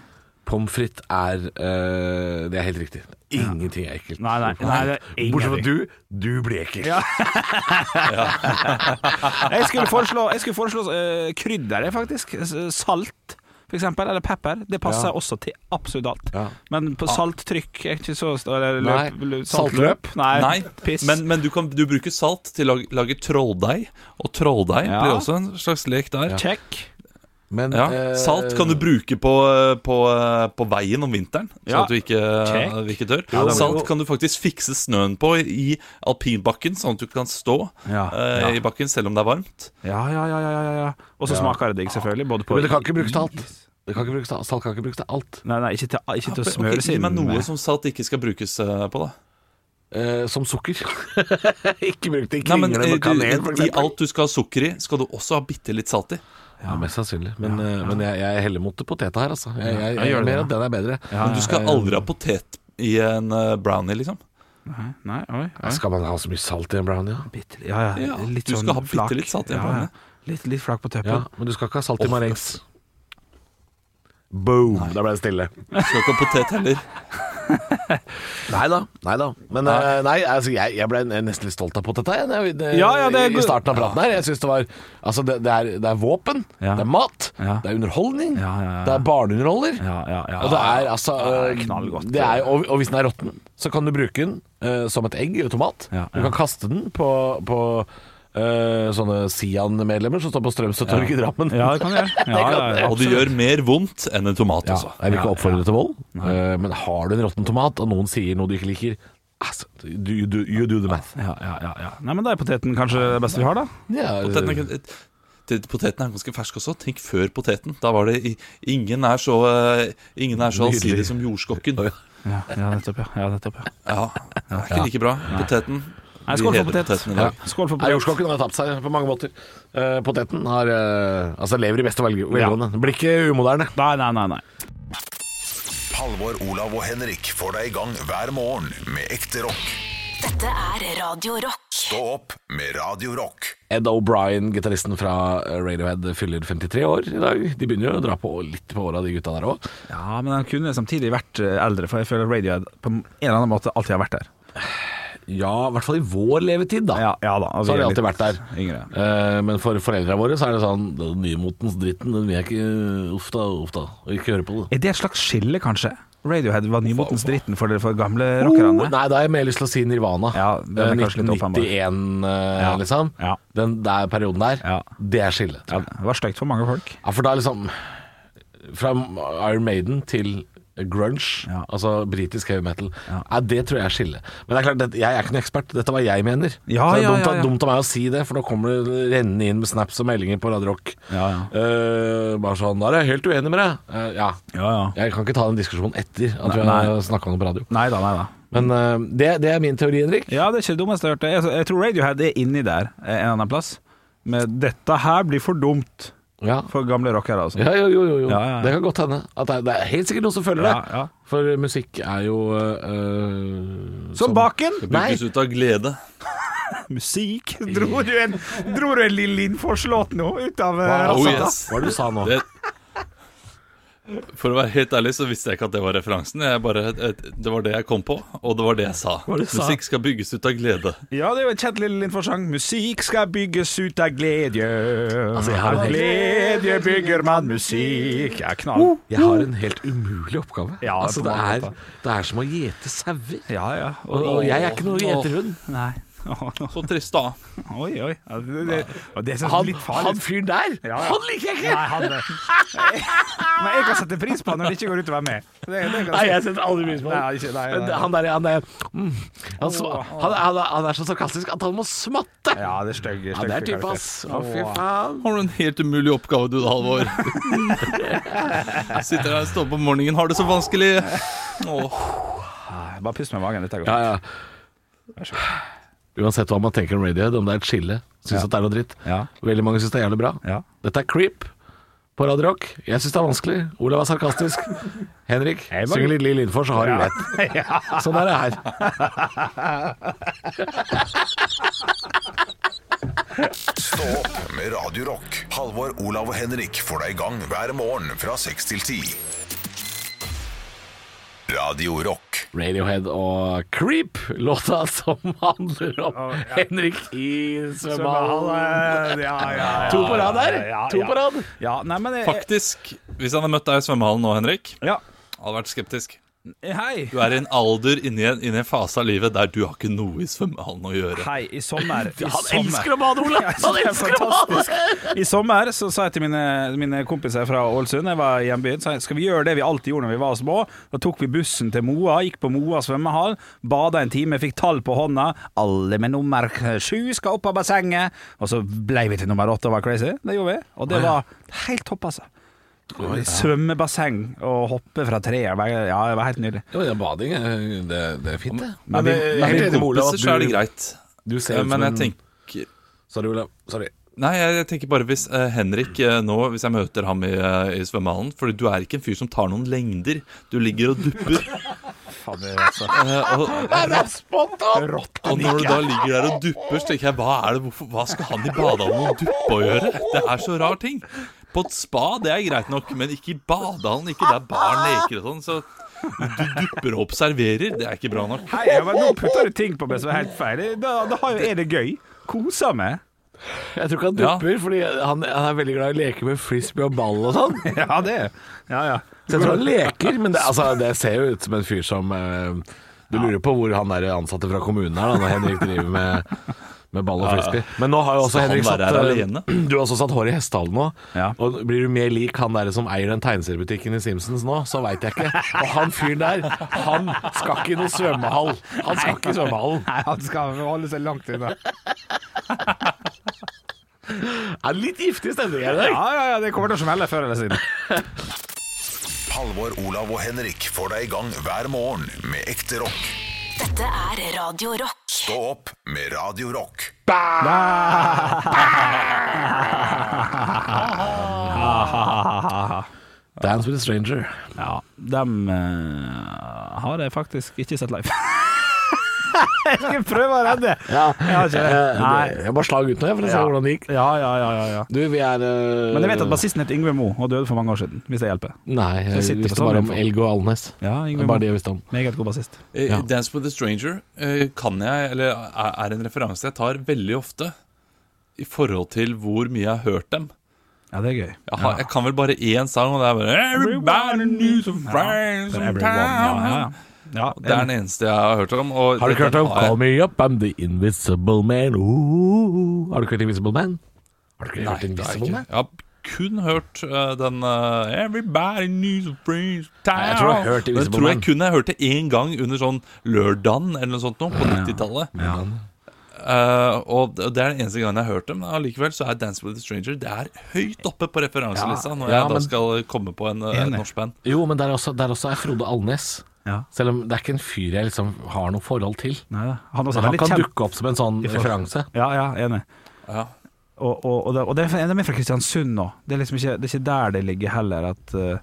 Pommes frites er øh, Det er helt riktig. Ingenting er ekkelt.
Nei, nei, nei, det er ingenting.
Bortsett fra du. Du blir ekkel.
Jeg skulle foreslå, jeg skulle foreslå eh, krydder, jeg, faktisk. S- Salt, for eksempel. Eller pepper. Det passer også til absolutt alt.
Ja.
Men på salttrykk er ikke så st- eller
Nei.
løp, løp,
Saltløp?
saltløp? Nei.
Nei,
Piss.
men, men du, kan, du bruker salt til å lage, lage trolldeig, og trolldeig
Ja.
blir også en slags lek der. Ja.
Check.
Men eh,
Salt kan du bruke på, eh, på, eh, på veien om vinteren, så
Ja.
at du ikke,
Check.
eh, ikke dør.
det blir
Salt
jo-
kan du faktisk fikse snøen på i alpinbakken, sånn at du kan stå
Ja,
eh, i bakken selv om det er varmt.
Ja, ja, ja. ja, ja, ja. Og så smaker det digg, selvfølgelig. Både på
Men det kan ikke brukes til alt. Det kan ikke brukes til, salt kan ikke brukes til alt.
Nei, nei, ikke til, ikke til å
Ok,
smøre seg
gi meg
inn
noe
med.
som salt ikke skal brukes eh, på, da.
Eh, som sukker. ikke brukt i
Nei, men
kringle med
eh, du,
kanel, for
I
eksempel.
alt du skal ha sukker i, skal du også ha bitte litt salt i.
Ja, mest sannsynlig. Men, eh, men jeg, jeg heller mot poteta her, altså. Jeg, jeg, jeg,
gjør det,
mener
ja.
at den er bedre.
Men du skal aldri ha potet i en eh, brownie, liksom.
Nei, oi, oi.
Skal man ha så mye salt i en brownie? Ja?
Bitte, ja, ja,
Ja,
litt
du
sånn
skal ha bitte
flak.
litt salt i en
Ja,
blande.
ja. Litt, litt flak på
ja,
tøppen.
men du skal ikke ha salt i marengs. Boom! Da ble det stille.
Du skal ikke ha potet heller.
Nei da. Nei da. Men eh, nei, altså, jeg, jeg ble nesten litt stolt av poteta jeg, når jeg- det-
Ja, ja, det er
i
god-
starten av praten her. Jeg synes det var Altså, det, det, er, det er våpen,
Ja.
det er mat,
Ja.
det er underholdning,
Ja, ja, ja.
det er barneunderholder.
Ja, ja, ja.
Og det er altså
Det er knallgodt.
det er, og, og hvis den er råtten, så kan du bruke den eh, som et egg eller tomat.
Ja,
Du
ja.
kan kaste den på, på eh, sånne Sian-medlemmer som står på Strømsøtorget i Drammen.
Ja, det kan du gjøre. Ja, ja, ja.
Og det gjør mer vondt enn en tomat,
Ja,
altså.
jeg vil ikke oppfordre til vold, eh, men har du en råtten tomat, og noen sier noe du ikke liker altså, du- you, do, you do the math.
Ja, ja, ja, ja. Nei, men da er poteten kanskje det beste vi har, da.
Ja,
Poteten er, ikke- til- poteten er ganske fersk også. Tenk før poteten. Da var det i- Ingen er så eh, Ingen er så allsidig som jordskokken.
Ja, ja nettopp, ja. ja, nettopp, ja.
Ja, det er ikke like bra. Poteten.
Nei, skål
Vi
for
hedrer
potet.
poteten i
Ja.
dag.
Skål for
Nei,
potet.
Jordskokken har tapt seg på mange måter. Eh, poteten har, eh, altså lever i beste velg- velgående. Blir ikke umoderne.
Nei, nei, nei. nei.
Halvor, Olav og Henrik får deg i gang hver morgen med ekte rock.
Dette er Radio Rock.
Stå opp med Radio Rock.
Ed O'Brien, gitaristen fra eh, Radiohead, fyller 53 år i dag. De begynner jo å dra på litt på åra, de gutta der òg.
Ja, men den kunne samtidig vært eh, eldre, for jeg føler Radiohead på en eller annen måte alltid har vært der.
Ja, i hvert fall i vår levetid, da.
Ja, ja da. og vi
Så har de
er
alltid
litt
vært der.
Yngre.
Eh, men for foreldra våre så er det sånn Den nymotens dritten, den vil jeg ikke eh, Uff da, uff da. og Ikke høre på det.
Er det et slags skille, kanskje? Radiohead var nymotens dritten for, for gamle
Oh,
rockerne.
nei, da har jeg mer lyst til å si Nirvana.
Ja, den er
Eh,
kanskje litt åpenbar.
1991, eh,
Ja.
liksom.
Ja.
Den der perioden der,
Ja.
det er skillet.
Ja, det var stygt for mange folk.
Ja, for da er liksom Fra Iron Maiden til grunge,
Ja.
altså britisk heavy metal,
Ja.
Nei, det tror jeg er skillet. Men det er klart, det- jeg er ikke noen ekspert, dette er hva jeg mener.
Ja,
så det er
ja,
dumt,
ja, ja.
dumt av meg å si det, for nå kommer det rennende inn med snaps og meldinger på Radio Rock.
Ja, ja.
Eh, bare sånn Da er jeg helt uenig med deg. Eh, ja.
Ja, ja.
Jeg kan ikke ta den diskusjonen etter at vi
nei.
har snakka om det på radio.
Nei da, nei da.
Men eh, det, det er min teori, Henrik.
Ja, det er ikke det dummeste jeg har hørt. Jeg, jeg tror Radiohead er inni der eh, en annen plass. Men dette her blir for dumt
Ja.
for gamle rockere. Altså.
Ja, jo, jo, jo, jo.
Ja, ja, ja.
Det kan godt hende. At det, er- det er helt sikkert noen som føler
Ja,
det.
ja.
For musikk er jo eh, øh,
Som baken!
Nei.
Brukes ut av glede.
Musikk! Dro du en, dro du en Lill Linn forslått nå ut av eh,
Oh,
Razzata?
yes.
Hva er det du sa nå?
Det, for å være helt ærlig så visste jeg ikke at det var referansen. Jeg bare, eh, det var det jeg kom på, og det var det jeg sa.
Hva var det du sa?
Musikk skal bygges ut av glede.
Ja, det er jo en kjent Lill Linn-forsang. Musikk skal bygges ut av glede.
Altså, jeg har
av
en helt-
glede bygger man musikk. Ja, knall.
Jeg har en helt umulig oppgave.
Ja,
altså,
på
det,
mange
er,
måter.
det er som å gjete sauer.
Ja, ja.
Og, og jeg er ikke noe
Åh.
gjeterhund.
Nei. Oi,
Så trist, da.
oi. Ja, det, det, og det er så
Han,
litt farlig.
han fyren der,
Ja, ja.
han liker jeg ikke!
Nei, han Men jeg kan sette pris på han når det ikke går utover meg. Det, det kan
Nei, jeg setter aldri pris på
Nei,
han.
ikke- nei,
Men
nei, nei.
Han der, han der mm, han, sm- han, han, er- han er så sarkastisk at han må smatte!
Ja, det er stygg.
Ja, det er type, ass. Å, fy faen.
Har du en helt umulig oppgave du da, Halvor? Sitter her og står opp om morgenen, har det så vanskelig. Åh.
Ah, Bare pust med magen. Dette går.
Ja, ja. Uansett hva man tenker om Radiohead, om det er et skille, syns at det er noe dritt.
Ja.
Veldig mange syns det er jævlig bra.
Ja.
Dette er Creep på Radio Rock. Jeg syns det er vanskelig. Olav er sarkastisk. Henrik,
Jeg bare-
syng litt Lill Innfor, så har du rett. Sånn er det her.
Stå opp med Radio Rock. Halvor, Olav og Henrik får deg i gang hver morgen fra 6 til 10. Radio Rock.
Radiohead og Creep, låta som handler om Henrik i svømmehallen.
eh, Ja, ja,
eh, To på rad der. To på rad.
Ja, nei, men jeg,
Faktisk, hvis jeg hadde møtt deg i svømmehallen nå, Henrik,
ja.
hadde jeg vært skeptisk.
Hei.
Du er i en alder inni en, inni en fase av livet der du har ikke noe i svømmehallen å gjøre.
Hei, i sommer I
Han
sommer,
elsker å bade, Olav! Han elsker å bade!
I sommer så sa jeg til mine, mine kompiser fra Ålesund, jeg var i hjembyen, så jeg, skal vi gjøre det vi alltid gjorde når vi var små? Da tok vi bussen til Moa, gikk på Moa svømmehall, bada en time, fikk tall på hånda. Alle med nummer sju skal opp av bassenget. Og så ble vi til nummer åtte og var crazy. Det gjorde vi. Og det var helt topp, altså. Svømmebasseng og hoppe fra treet. Ja, det var helt nydelig.
Jo, det er bading. Det, det er fint, det.
Men vi-
jeg er
men
helt
vi
enig med Olav
Kompiser, så er det
at
greit.
du, du ser
Eh,
ut som
Men
en
jeg tenker
Sorry, Olav. Sorry.
Nei, jeg, jeg tenker bare hvis eh, Henrik eh, nå, hvis jeg møter ham i, eh, i svømmehallen Fordi du er ikke en fyr som tar noen lengder. Du ligger og dupper. Eh, og,
Det er spot on!
og når du da ligger der og dupper, så tenker jeg hva, er det, hvorfor, hva skal han i badehallen og duppe å gjøre? Det er så rar ting. På et spa, det er greit nok, men ikke i badehallen. Ikke der barn leker og sånn. Så Du dupper og observerer. Det er ikke bra nok.
Hei, jeg bare, nå putter du ting på meg som er helt feil. Da, da har jo- er det gøy. Koser meg.
Jeg tror ikke han dupper, fordi han, han er veldig glad i å leke med frisbee og ball og sånn.
Ja, det er Ja, ja.
Så jeg tror han leker, men det, altså, det ser jo ut som en fyr som eh, Du lurer på hvor han der ansatte fra kommunen er, da, når Henrik driver med, med ball og
Ja, ja.
frisbee. Men nå har jo også
Skal han
Henrik satt
være her
eh,
alene?
Du har også satt hår i hestehalen nå.
Ja.
Og blir du mer lik han der som eier den tegneseriebutikken i Simpsons nå, så veit jeg ikke. Og han fyren der, han skal ikke i noen svømmehall. Han skal ikke i svømmehallen.
Nei, han skal holde seg langt unna.
Det er litt giftig stemning her i dag.
Ja, ja, ja, det kommer til å smelle før eller siden.
Halvor, Olav og Henrik får deg i gang hver morgen med ekte rock.
Dette er Radio Rock.
Stå opp med Radio Rock.
Dance with a stranger.
Ja, dem eh, har jeg faktisk ikke sett live. jeg skal prøve å redde. Jeg har ikke det.
Eh,
Nei.
Jeg bare slag ut nå, jeg, for å se hvordan det gikk.
Ja, ja, ja, ja, ja.
Du, vi er eh,
Men jeg vet at bassisten het Yngve Moe og døde for mange år siden, hvis det hjelper.
Nei, jeg
sitter på
visste bare om
samme info.
Elg og Alnes.
Ja,
Det er
Yngve
bare det
Moe.
jeg visste om.
Meget god bassist.
Eh,
Ja.
Dance with a stranger eh, kan jeg, eller er er en referanse jeg tar veldig ofte i forhold til hvor mye jeg har hørt dem.
Ja, det er gøy.
Jeg, har, jeg kan vel bare én sang, og det er bare Everybody needs a friend
For everyone. Ja, ja,
sometime.
ja. ja
Det er den eneste jeg har hørt om. Og
Har du ikke hørt om
dette har
Call
jeg-
Me Up, I'm the Invisible Man? Ooh. Har du ikke hørt Invisible Man? Har du ikke hørt
det har jeg
Invisible
ikke.
Man?
Jeg har kun hørt eh, den eh, Everybody needs a friend sometime.
Nei, jeg tror jeg har hørt
Den
Invisible
tror jeg
Man.
kun jeg hørte én gang under sånn lørdagen eller noe sånt nå, på 90-tallet. Eh, og det og det er den eneste gangen jeg har hørt dem. men Allikevel så er Dance with a Stranger Det er høyt oppe på referanselista når
ja,
jeg da
men-
skal komme på en, eh, et
Enig.
norsk band.
Jo, men der også, der også er Frode Alnes.
Ja.
Selv om det er ikke en fyr jeg liksom har noe forhold til.
Nei, da. han også
Men
er
han
veldig
kan
kjent.
dukke opp som en sånn referanse.
Ja, ja, enig.
Ja.
Og, og, og, det, og det er, de er fra Kristiansund nå. Det er liksom ikke, det er ikke der det ligger heller, at eh,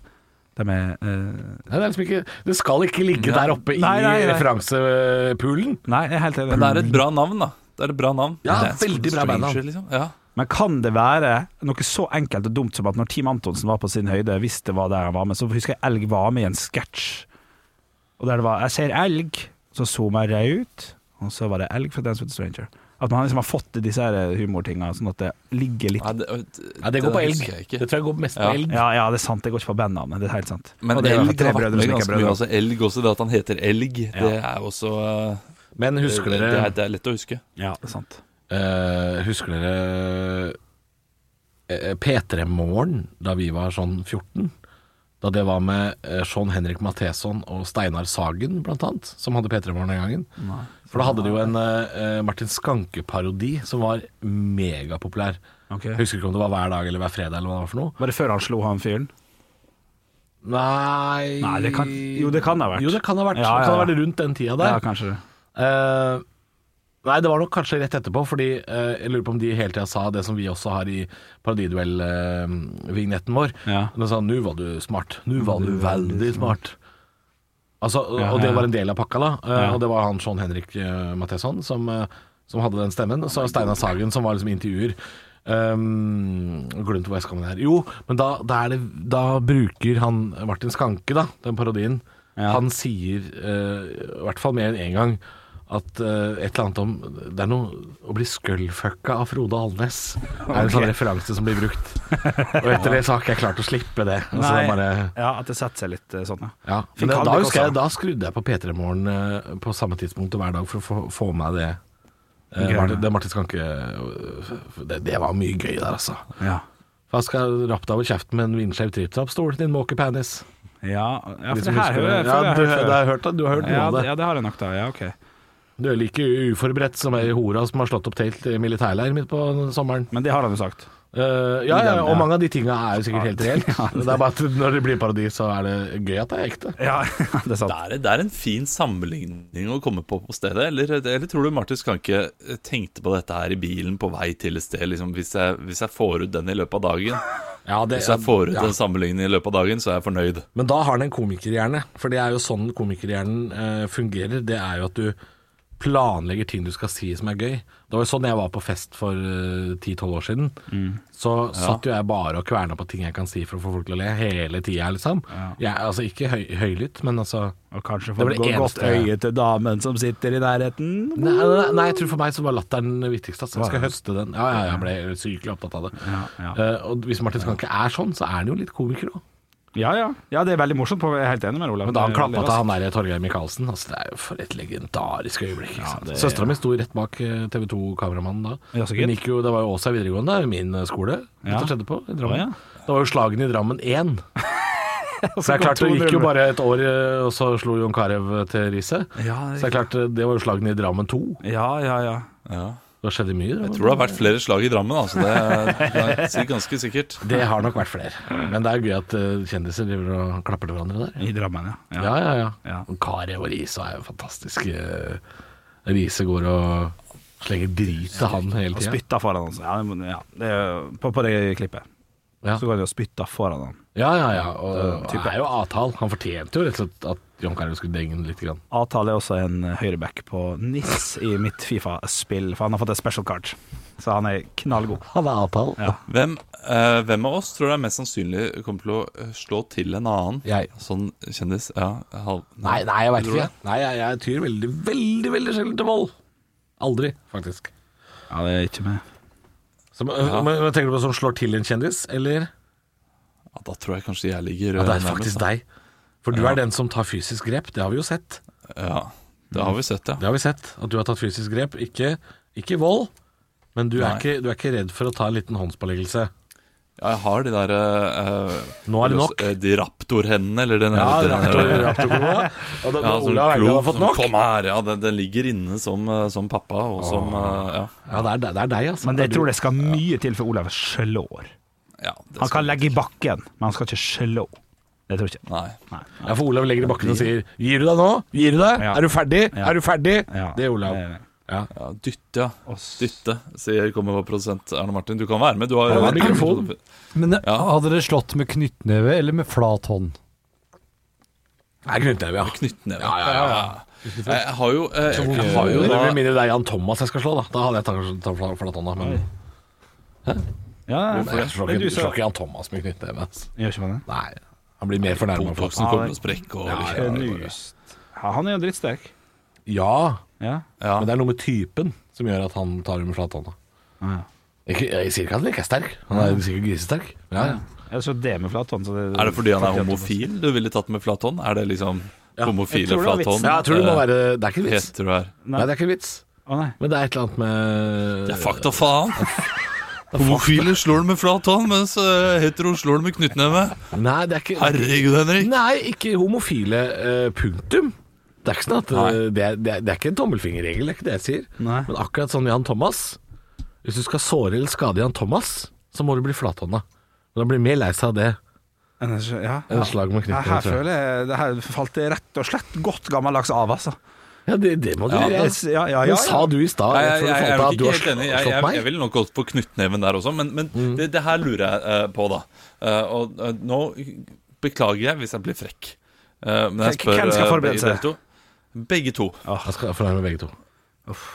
de er eh,
Nei, det, er liksom ikke, det skal ikke ligge der oppe
Nei, nei,
i
nei.
referansepulen.
Nei, jeg er helt enig.
Men det er et bra navn, da. Det er et bra navn.
Ja,
Dance with
veldig
a
bra
Stranger,
bandnavn.
Liksom. Ja.
Men kan det være noe så enkelt og dumt som at når Team Antonsen var på sin høyde, hvis det var der han var med, så husker jeg Elg var med i en sketsj. Og der det var 'Jeg ser elg', så zoomer jeg ut, og så var det 'Elg fra Dance with a Stranger'. At man liksom har fått disse her humortinga, sånn at det ligger litt
Nei, det,
Nei, det går på
der
elg.
husker jeg ikke.
Det tror jeg går mest på
Ja.
elg.
Ja, ja, det er sant, det går ikke på bandnavnet, det er helt sant.
Men
Og det er
elg
jo tre
har vært
brødre
med
som ikke er
ganske mye.
brødre.
Altså, elg også, det at han heter Elg, det er jo også eh,
Men husker
det,
dere
er, det er lett å huske.
Ja, det er sant.
Eh, husker dere eh, P3 Morgen, da vi var sånn 14? Da det var med eh, Sean Henrik Matheson og Steinar Sagen, blant annet, som hadde P3 Morgen den gangen. For da hadde de jo en eh, eh, Martin Skanke-parodi som var megapopulær.
Ok.
Jeg Husker ikke om det var hver dag eller hver fredag eller hva det var for noe.
Var det før han slo han fyren?
Nei
Nei, det kan- jo, det kan det ha vært.
Jo, det kan ha vært. Det
Ja,
kan ha
ja, ja.
vært rundt den tida der.
Ja, kanskje det.
Eh, nei, det var nok kanskje rett etterpå, fordi eh, jeg lurer på om de hele tida sa det som vi også har i paradiduell-vignetten vår.
Ja.
De sa 'nu var du smart'. 'Nu var du veldig smart'. Altså, og-
Ja,
Og
ja,
det
ja.
var en del av pakka, da. Eh,
Ja.
Og det var han Sean Henrik uh, Matheson som, eh, som hadde den stemmen. Og så var det Steinar Sagen som var liksom intervjuer. Um, glemt hvor jeg skal med det her. Jo, men da, da, er det, da bruker han Martin Skanke, da, den parodien. Han sier, eh, i hvert fall mer enn én gang, at eh, et eller annet om Det er noe å bli skøllfucka av Frode Alnes. Det er en sånn referanse som blir brukt. Og etter det så har ikke jeg klart å slippe det. Altså, det er bare,
Ja, at det setter seg litt eh, sånn, ja.
ja.
Fikk
Men da,
han
da,
det
husker
også?
jeg, da skrudde jeg på P3 Morgen eh, på samme tidspunkt hver dag for å få, få med det. Eh,
Greiene.
Martin, det Martin Skanke eh, det, det var mye gøy der, altså.
Ja,
Hva skal rappe deg over kjeften med en vindskjev tripp-trapp-stol, din måkepenis?
ja, ja
Hvis
for
du
det her
husker
hører jeg,
det. Ja,
føler
du,
jeg har hørt
det
før.
har jeg hørt det. Du har hørt noe
Ja,
av det.
ja, det har jeg nok da. Ja, ok.
Du er like uforberedt som ei hora som har slått opp telt i militærleir midt på sommeren.
Men det har han jo sagt.
Eh, ja, ja,
I den,
og
ja.
mange av de tinga er jo sikkert helt reelt. Det er bare at når det blir parodi, så er det gøy at det er ekte.
Ja, det er sant.
Det er, det er en fin sammenligning å komme på på stedet. Eller, eller tror du Martin Skanke eh, tenkte på dette her i bilen på vei til et sted? Liksom, hvis, jeg, hvis jeg får ut den i løpet av dagen,
Ja, det,
hvis jeg får ut
ja.
den sammenligningen i løpet av dagen, så er jeg fornøyd.
Men da har han en komikerhjerne, for det er jo sånn komikerhjernen eh, fungerer. Det er jo at du planlegger ting du skal si som er gøy. Det var jo sånn jeg var på fest for eh, 10-12 år siden. Så satt jo jeg bare og kverna på ting jeg kan si for å få folk til å le, hele tida, liksom. Jeg, altså ikke høy, høylytt, men altså
Og kanskje
Det
få
var det
gå godt
eneste-
øye til damen som sitter i nærheten.
Nei, nei, nei, jeg tror for meg så var latteren det viktigste. Altså. Jeg skal høste den. Ja, ja, jeg ble sykelig opptatt av det. Eh, og hvis Martin Skanke er sånn, så er han jo litt komiker òg.
Ja, ja. ja, det er veldig morsomt. på- Jeg er helt enig med Olav.
Men da han
Det er
klappa
Eh, veldig
til
raskt.
han der Torgeir Micaelsen altså, Det er jo for et legendarisk øyeblikk. Ja,
det-
Søstera mi sto rett bak eh, TV 2-kameramannen da.
Ja, så
Hun
gitt.
gikk jo, det var jo Åsa videregående, min eh, skole.
Ja.
Dette skjedde på i
Å, ja.
Drammen. Det var jo slagene i Drammen 1. Så det
Så
er klart,
kom
det gikk jo
2-0.
bare et år, eh, og så slo Jon Carew eh, til Riise.
Ja,
så
det-
det er klart, eh, det var jo slagene i Drammen 2.
Ja, ja, ja.
Ja.
Det skjedde mye. i Drammen.
Jeg tror det har vært flere slag i Drammen, altså. Det er, det er sikkert ganske sikkert.
Det har nok vært flere. Men det er gøy at eh, kjendiser driver og klapper til hverandre der.
I Drammen, ja.
Ja, ja, ja.
Ja.
Og Kari og Riise er jo fantastisk. eh, Riise går og slenger drit til han hele
Og
tida.
spytta foran han. så- Ja, det må- ja. Det er, på, på det klippet.
Ja.
Så går han og spytter foran han.
Ja, ja, ja. Og det er jo avtal. Han fortjente jo rett og slett at John Carew skulle denge den litt. Grann.
Avtale er også en eh, høyreback på NIS i mitt Fifa-spill, for han har fått et special card. Så han er knallgod.
Han er avtalen.
Ja.
Hvem, eh, hvem av oss tror du er mest sannsynlig kommer til å eh, slå til en annen?
Jeg.
Sånn kjendis? Ja, halv...
Nei, nei, jeg veit
Tror du
ikke. Nei, jeg, jeg tyr veldig, veldig veldig sjelden til vold. Aldri, faktisk.
Ja, det er ikke meg.
Som, øh, men, men tenker du på som slår til en kjendis, eller?
Ja, da tror jeg kanskje jeg ligger
Ja, det er
eh,
faktisk
nærmest,
deg. For du er den som tar fysisk grep. Det har vi jo sett.
da. Ja, det har vi sett, ja.
Det har vi sett, at du har tatt fysisk grep. Ikke, ikke vold, men du er
Nei.
ikke, du er ikke redd for å ta en liten håndspåleggelse.
Ja, jeg har de der eh, eh,
Nå er det nok.
eh, De raptorhendene, eller den
Ja,
den- den-
raptorkoa.
Ja, som
Olav Haugland
klo-
har fått nok.
Som kom her, ja, den, den ligger inne som, eh, som pappa, og som eh, Ja.
Ja, det er, det er deg, altså.
Men det, jeg
Det er
tror
du.
det skal mye til for Olav slår.
ja det
Han
skal-
kan legge i bakken, men han skal ikke slå. Det tror jeg ikke.
Nei.
Nei.
Ja, for Olav legger i bakken og sier 'Gir du deg nå? Gir du deg?
Ja.
Er du ferdig?
Ja.
Er du ferdig?'
Ja, Eh,
Det er Olav.
det er det.
Ja.
Ja, dytte, ja. Dytte, sier kommer vår produsent Arne Martin. Du kan være med. Du har,
har mikrofon.
Men
Ja.
hadde dere slått med knyttneve eller med flat hånd?
Det er knyttneve, ja.
Knyttneve.
Ja, ja, ja.
Jeg jeg har jo, eh, jeg har jo
Det
da,
blir mindre det er Jan Thomas jeg skal slå, da. Da hadde jeg tatt- tatt flat- flat hånda. Men
Ja, ja.
jeg slår
Men
ikke,
du
du
sa-
slår ikke Jan Thomas med knyttneve. altså.
Gjør ikke man det?
Nei. Han blir mer fornærma.
Botoxen kommer til å sprekke og
Ja, ja.
Knust. Ja, han er jo drittsterk.
Ja,
Ja.
Ja.
men det er noe med typen som gjør at han tar det med flat hånda.
Ah, Ja. Ah,
Ikke, jeg sier ikke at han ikke er sterk. Han er sikkert grisesterk. Men Ja, ja.
Jeg så det med flat hånd. så
Er det fordi han er
sånn.
homofil du ville tatt med flat hånd? Er det liksom
Jeg
homofile
tror det var
flat hånd?
ja, jeg tror det må være Det er ikke en vits.
Heter du her?
Nei, det er ikke en vits.
Å nei.
Men det er et eller annet med
Det er fakta, faen! Homofile slår det med flat hånd, mens eh, hetero slår det med knyttneve.
Nei, det er ikke
Herregud, Henrik.
Nei, ikke homofile. eh, punktum. Det er ikke sånn at eh,
Nei.
det, er, det, er, det er ikke en tommelfingerregel, det er ikke det jeg sier.
Nei.
Men akkurat sånn Jan Thomas Hvis du skal såre eller skade Jan Thomas, så må du bli flathånda. Men han blir mer lei seg av det
En- Ja.
enn slag med
Her, her
knyttneve.
føler jeg Det her falt det rett og slett godt gammeldags av, altså.
Ja, det, det må du
Ja.
gjøre.
Jeg s- ja, ja, ja,
Men sa
ja.
du i stad
Nei,
rett
jeg,
før du
jeg, jeg
falt av
er nok
at du
ikke
har
helt enig.
sl-
Jeg,
slått
jeg,
meg?
jeg ville nok gått for knyttneven der også, men, men det, det her lurer jeg eh, på, da. Eh, og eh, nå beklager jeg hvis jeg blir frekk. Eh, men
Frekk.
jeg spør
Hvem skal
eh,
forberede
begge
seg?
dere to. Begge to.
Jeg skal fornærme begge to.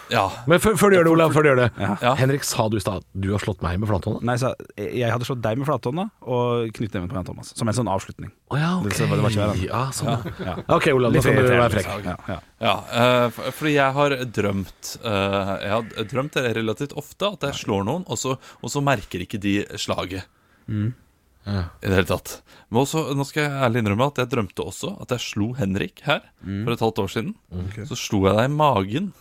Ja.
Men før, før du gjør det, Olav, før du gjør det.
Ja.
Henrik, sa du i stad du har slått meg med flathånda?
Nei, så jeg jeg hadde slått deg med flathånda og knyttneven på Jan Thomas, som en sånn avslutning.
Å ja, ok.
Det var- det var ikke verre.
ja, sånn, ja. Ok, Olav, nå skal du være frekk.
Ja, ja.
ja eh, for- fordi jeg har drømt eh, Jeg har drømt det relativt ofte at jeg slår noen, og så, og så merker ikke de slaget.
Mm.
I det hele tatt. Men også, nå skal jeg ærlig innrømme at jeg drømte også at jeg slo Henrik her
Mm.
for et halvt år siden. Så slo jeg deg i magen,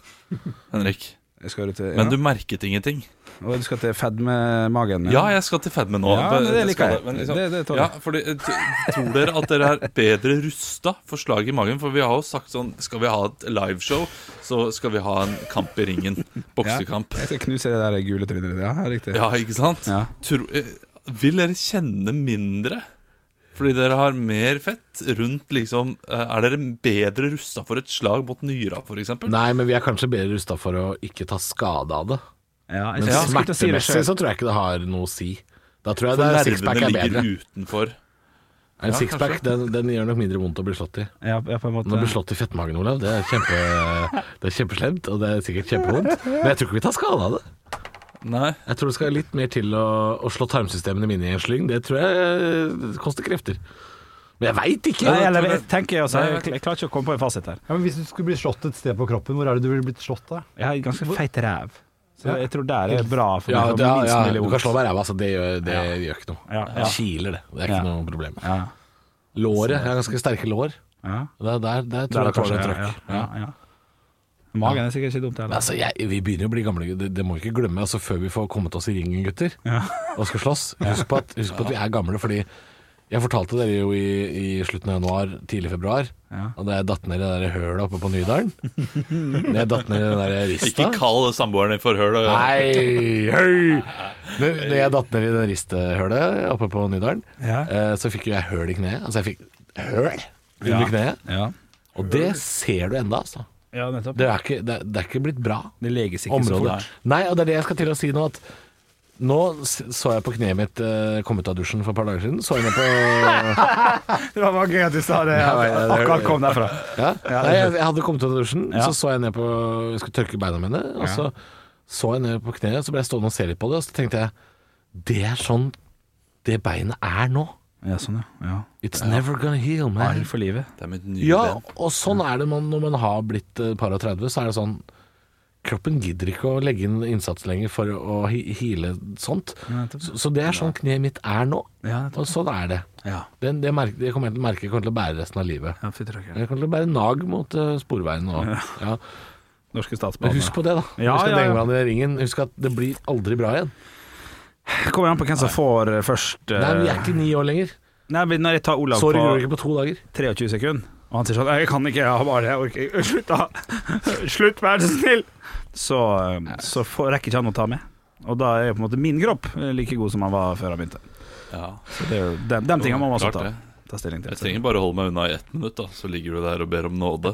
Henrik.
Jeg skal, til, ja.
Men du merket ingenting.
Og du skal til fedmemagen?
Ja, jeg skal til fedme nå.
Ja, men det liker
skal liksom-
jeg. Det- det tåler
ja,
jeg.
fordi, eh, t- tror dere at dere er bedre rusta for slag i magen? For vi har jo sagt sånn Skal vi ha et liveshow, så skal vi ha en kamp i ringen. Boksekamp.
Jeg skal knuse det der gule trynet ditt. Ja, riktig.
Ja, ikke sant?
Ja.
Tro, eh, vil dere kjenne mindre? Fordi dere har mer fett rundt liksom eh, Er dere bedre rusta for et slag mot nyra, f.eks.?
Nei, men vi er kanskje bedre rusta for å ikke ta skade av det.
Ja,
Men
jeg skulle- jeg skulle til å si det
smertemessig
selv.
så tror jeg ikke det har noe å si. Da tror jeg
For
det er sixpack
nervene
er
ligger
bedre.
utenfor.
En sixpack den, den gjør nok mindre vondt å bli slått i.
Ja, ja, på en måte.
Når du blir slått i fettmagen, Olav, det er, kjempe, det er kjempeslemt, og det er sikkert kjempevondt. Men jeg tror ikke vi tar skade av det.
Nei.
Jeg tror det skal litt mer til å, å slå tarmsystemene mine i en slyng. Det tror jeg eh, koster krefter. Men jeg veit ikke!
Nei, eller, jeg tenker altså,
Nei,
jeg, jeg klarer ikke å komme på en fasit her.
Ja, men Hvis du skulle bli slått et sted på kroppen, hvor er det du ville blitt slått da?
Jeg har ganske feit ræv. Så
Ja.
jeg tror der er bra for
Ja,
meg.
det, ja,
minst
ja,
mulig
du
vondt.
kan slå meg i ræva, altså. Det, gjør, det gjør ikke noe.
Ja, ja.
Jeg kiler det. Det er ikke
Ja.
noe problem.
Ja.
Låret. Jeg har ganske sterke lår.
Ja.
Der, der, der tror
Der
jeg kanskje
tåler
det er
jeg,
trøkk.
ja, ja, ja. Magen er sikkert ikke dumt
Men
heller.
Altså, jeg, vi begynner jo å bli gamle, det, det må vi ikke glemme. Altså, før vi får kommet oss i ringen, gutter,
Ja.
og skal slåss. Husk på, at, husk på at vi er gamle, fordi jeg fortalte dere jo i, i slutten av januar, tidlig februar,
Ja.
og da jeg datt ned i det der hølet oppe på Nydalen. Da jeg datt ned i den der
Ikke
rista.
kall samboeren din for høl. og-
Nei, høy! Når når jeg datt ned i det ristehølet oppe på Nydalen,
Ja.
eh, så fikk jo jeg høl i kneet. Altså, jeg fikk høl under kneet.
Ja.
Og det ser du enda, altså.
Ja, nettopp.
Det er ikke, det, er- det er ikke blitt bra
Det leges ikke
område.
så fort.
Nei, og det er det jeg skal til å si nå. At nå s- så jeg på kneet mitt eh, komme ut av dusjen for et par dager siden. Så jeg ned på
Det var bare gøy at du sa det.
Ja,
At
ja,
jeg
det-
akkurat kom derfra.
ja. Nei, jeg, jeg hadde kommet ut av dusjen,
Ja.
så så jeg ned på Jeg skulle tørke beina mine, og så så jeg ned på kneet, så ble jeg stående og se litt på det, og så tenkte jeg Det er sånn det beinet er nå.
Ja, sånn, ja. ja.
It's never gonna heal, man.
Arr for livet.
Det er mitt nye
Ja,
ben.
og sånn er det man, når man har blitt eh, par og 30, så er det sånn Kroppen gidder ikke å legge inn innsats lenger for å hi- heale sånt. Så, så det er sånn kneet mitt er nå.
Ja, nettopp.
Og sånn er det.
Ja.
Det, det, merker, det kommer jeg til å merke jeg kommer til å bære resten av livet.
Ja, fy tråkker.
Jeg kommer til å bære nag mot eh, sporveien. Og, ja.
Norske
Men
statsbaner.
husk på det, da.
Ja,
husk at
ja,
det
ja.
henger hverandre i ringen. Husk at det blir aldri bra igjen.
Det kommer an på hvem som får eh, først. eh,
Nei, Vi er ikke ni år lenger.
Nei, men når jeg tar Olav
Sorry,
på
går ikke på to dager.
23 sekunder, og han sier sånn Jeg kan ikke, jeg har bare jeg orker ikke. Slutt, da! Slutt, vær så snill! Så, eh, så får, rekker ikke han å ta med. Og da er på en måte min kropp eh, like god som han var før han begynte.
Ja,
Så det er jo de, de tingene må man også
klart
ta,
det.
ta stilling til.
Jeg trenger bare å holde meg unna i ett minutt, da så ligger du der og ber om nåde.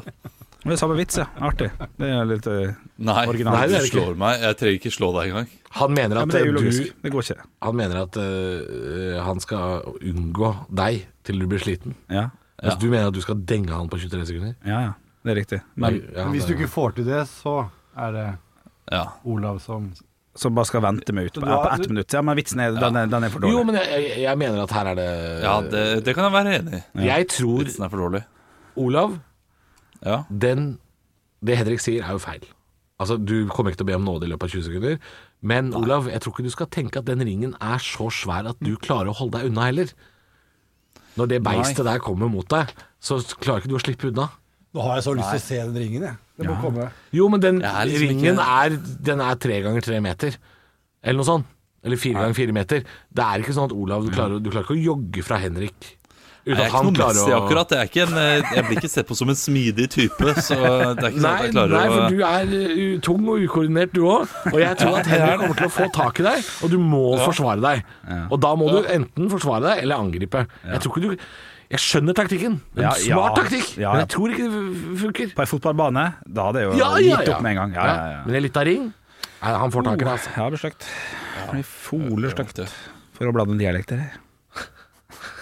Men det er samme vits, ja. Artig. Det er litt eh,
Nei,
Original.
nei,
det er
du
det ikke.
slår meg. Jeg trenger ikke slå deg engang.
Han mener
ja,
at
Men det er
eh,
ulogisk.
du
Det går ikke.
Han mener at eh, han skal unngå deg til du blir sliten.
Ja,
Mens du mener at du skal denge han på 23 sekunder.
ja. ja. Det er riktig. Men
Ja,
Hvis du
det-
ikke får til det, så er det
Ja.
Olav som
som bare skal vente meg ut på, på ett minutt. Ja, men vitsen er, den er, den er for
Jo,
dårlig.
men jeg, jeg, jeg mener at her er det
ja, det, det kan jeg være enig i.
Jeg tror,
Vitsen er for dårlig.
Olav,
Ja.
den Det Henrik sier, er jo feil. Altså, Du kommer ikke til å be om nåde i løpet av 20 sekunder. Men Olav, jeg tror ikke du skal tenke at den ringen er så svær at du klarer å holde deg unna heller. Når det beistet der kommer mot deg, så klarer ikke du å slippe unna.
Nå har jeg så lyst til å se den ringen, jeg. Det må komme.
Jo, men den
er liksom
ringen
ikke-
er Den er tre ganger tre meter Eller noe sånt Eller fire ganger fire meter Det er ikke sånn at Olav Du klarer, du klarer ikke å jogge fra Henrik Uten
Jeg er
at
ikke
han
noe
klarer
Messi
å
akkurat. Jeg, er ikke en, eh, jeg blir ikke sett på som en smidig type, så det er ikke sånn at
Nei,
jeg klarer
nei, for
å
du er uh, tung og ukoordinert du også Og jeg tror at Henrik kommer til å få tak i deg Og du må forsvare deg Og da må du enten forsvare deg eller angripe Jeg tror ikke du Jeg skjønner taktikken Det er
Ja,
en smart
ja.
taktikk
Ja,
Men
ja.
jeg tror ikke det funker
På ei fotballbane, da hadde jeg jo
Ja, ja,
gitt
ja.
opp med en gang. Ja, ja, ja.
Men en liten ring Nei, Han får tak i deg altså
Ja, det blir stygt. Det blir foler stygt.
det.
For å blande en dialekt her.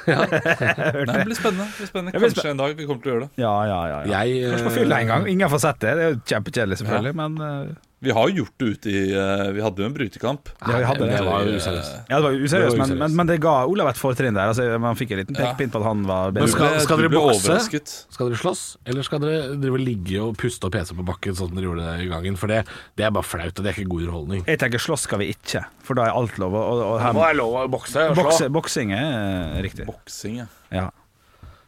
Nei, det blir spennende. Det blir spennende.
Det blir
Kanskje en dag vi kommer til å gjøre det.
Ja, ja, ja. ja.
Jeg
Kanskje på
eh,
fylla en gang. Ingen får sett det. Det er jo kjempekjedelig, selvfølgelig, men eh,
Vi har gjort det ute i eh, Vi hadde jo en brytekamp. eh,
ja, vi hadde det.
Det var jo useriøst
Ja, det var jo
Det
useriøst,
var
men, men,
useriøst.
men det ga Olav et fortrinn der. Altså, man fikk en liten pekepinn på at han var
Du
bedre.
Men skal-
ble,
skal
du
dere
ble
bokse?
overrasket.
Skal dere slåss, eller skal dere drive og ligge og puste og pese på bakken sånn som dere gjorde i gangen? For det, det er bare flaut, og det er ikke god underholdning.
Jeg tenker slåss skal vi ikke, for da er alt lov. Og, og her,
er lov å bokse
bokse, boksing er eh, riktig.
Boksing, ja.
Ja.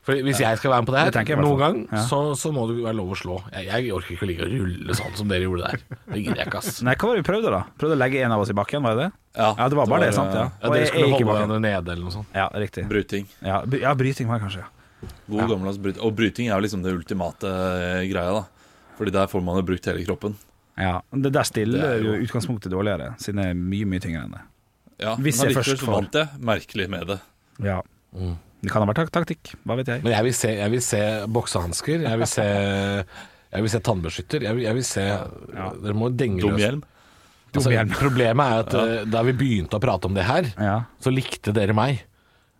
For hvis jeg skal være med på det
Det tenker
her
jeg i hvert
noen
fall.
gang,
Ja.
så, så må det være lov å slå. Jeg, jeg orker ikke å ligge og rulle sånn som dere gjorde der. Det gidder jeg ikke, ass.
Nei, hva var det vi prøvde, da? Prøvde å legge en av oss i bakken, var det det?
Ja,
Ja, det var bare det, sant? Ja.
Ja,
Og
dere
jeg- jeg
skulle
gikk i
holde
bakken.
hverandre nede eller noe sånt.
Ja, riktig.
eh, Bryting.
Ja, bry- ja, bryting var det kanskje, ja.
God gammeldags bryting. Og bryting er jo liksom det ultimate eh, greia, da. Fordi der får man jo brukt hele kroppen.
Ja, Det der
Det
stiller
er
jo
jo-
utgangspunktet dårligere, siden jeg er mye, mye tyngre enn det.
Ja,
Hvis
men
jeg
allikevel
først
så
får-
vant jeg. Merkelig med det.
Ja.
Mm.
Det kan ha vært tak- taktikk, hva vet jeg.
Men jeg vil se, jeg vil se boksehansker, jeg vil se jeg vil se tannbeskytter. Jeg vil, jeg vil se Dere må denge
Dum
løs.
hjelm.
Altså, problemet er at eh, da vi begynte å prate om det her,
Ja.
så likte dere meg.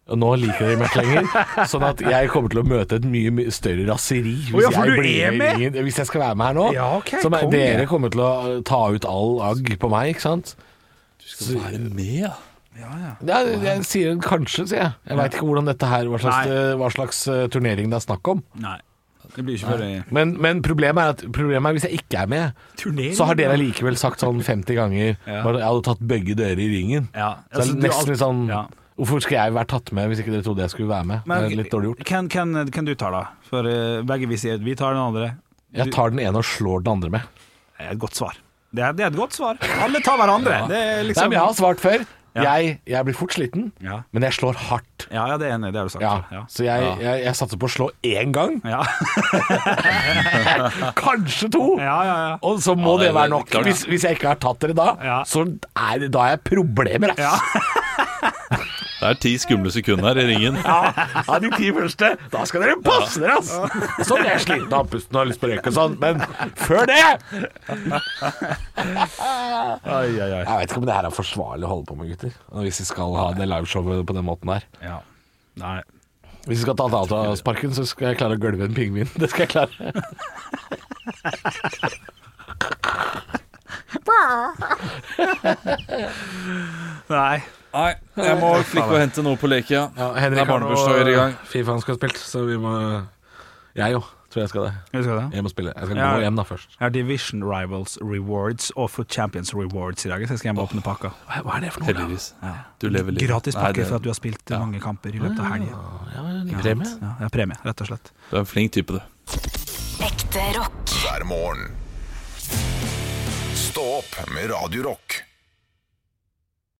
Og nå liker de meg ikke lenger, sånn at jeg kommer til å møte et mye, mye større raseri hvis,
Å ja, for
jeg
du
blir
er
med i ringen, hvis jeg skal være med her nå.
Ja, ok,
så men,
konge.
dere kommer til å eh, ta ut all agg på meg, ikke sant? Du
skal være med, ja.
Ja, jeg, sier kanskje, sier jeg. Jeg veit ikke hvordan dette her, hva slags, eh, hva slags eh, turnering det er snakk om.
Nei. Det blir ikke før i
Men, men problemet, er at, problemet er hvis jeg ikke er med,
Turnering,
så har dere
ja.
likevel sagt sånn 50 ganger
Ja.
bare, Jeg hadde tatt begge dører i ringen.
Ja,
Så det er
altså, du
nesten
alt-
litt sånn Hvorfor skal jeg være tatt med hvis ikke dere trodde jeg skulle være med? det er eh, litt dårlig gjort.
Hvem, hvem, hvem du tar, da? For eh, begge vi sier vi tar den andre.
Jeg tar den ene og slår den andre med.
Det er et godt svar. Det er, det er et godt svar. Alle tar hverandre. Det er
Nei,
liksom
men jeg har svart før.
Ja.
Jeg, jeg blir fort sliten,
Ja.
men jeg slår hardt.
Ja, ja, det er enig. Det har du sagt.
Ja. Så jeg,
Ja.
jeg, jeg satser på å slå én gang. Kanskje to! Og så må
Ja, det
det,
er
være nok.
klart, ja.
Hvis, hvis jeg ikke har tatt dere da, så er det da er jeg problemer, ass.
Det er ti skumle sekunder i ringen.
Av de ti første. Da skal dere passe dere, ass! Så blir jeg sliten av pusten og har lyst på røyk og sånn, men før det Jeg veit ikke om det her er forsvarlig å holde på med, gutter. Hvis vi skal ha det liveshowet på den måten der.
Ja. Nei.
Hvis vi skal ta datasparken, så skal jeg klare å gølve en pingvin. Det skal jeg klare.
Nei.
Nei, jeg må flikke og hente noe på lekia. det er barnebursdager i gang.
Fifa han skal ha spilt, så vi må Jeg òg, tror jeg skal det. Jeg må spille. Jeg skal
Ja.
gå hjem da først.
Jeg har Division Rivals Rewards og Foot Champions Rewards i dag, så jeg skal hjem og åpne pakka.
Hva er det for noe?
Heldigvis. Du lever livet.
Gratis
Nei,
pakke
det-
for at du har spilt mange kamper i løpet av helga.
Ja, ja, premie.
Ja, ja, premie, rett og slett.
Du er en flink type, du.
Ekte rock.
hver morgen. Stå opp med Radio Rock.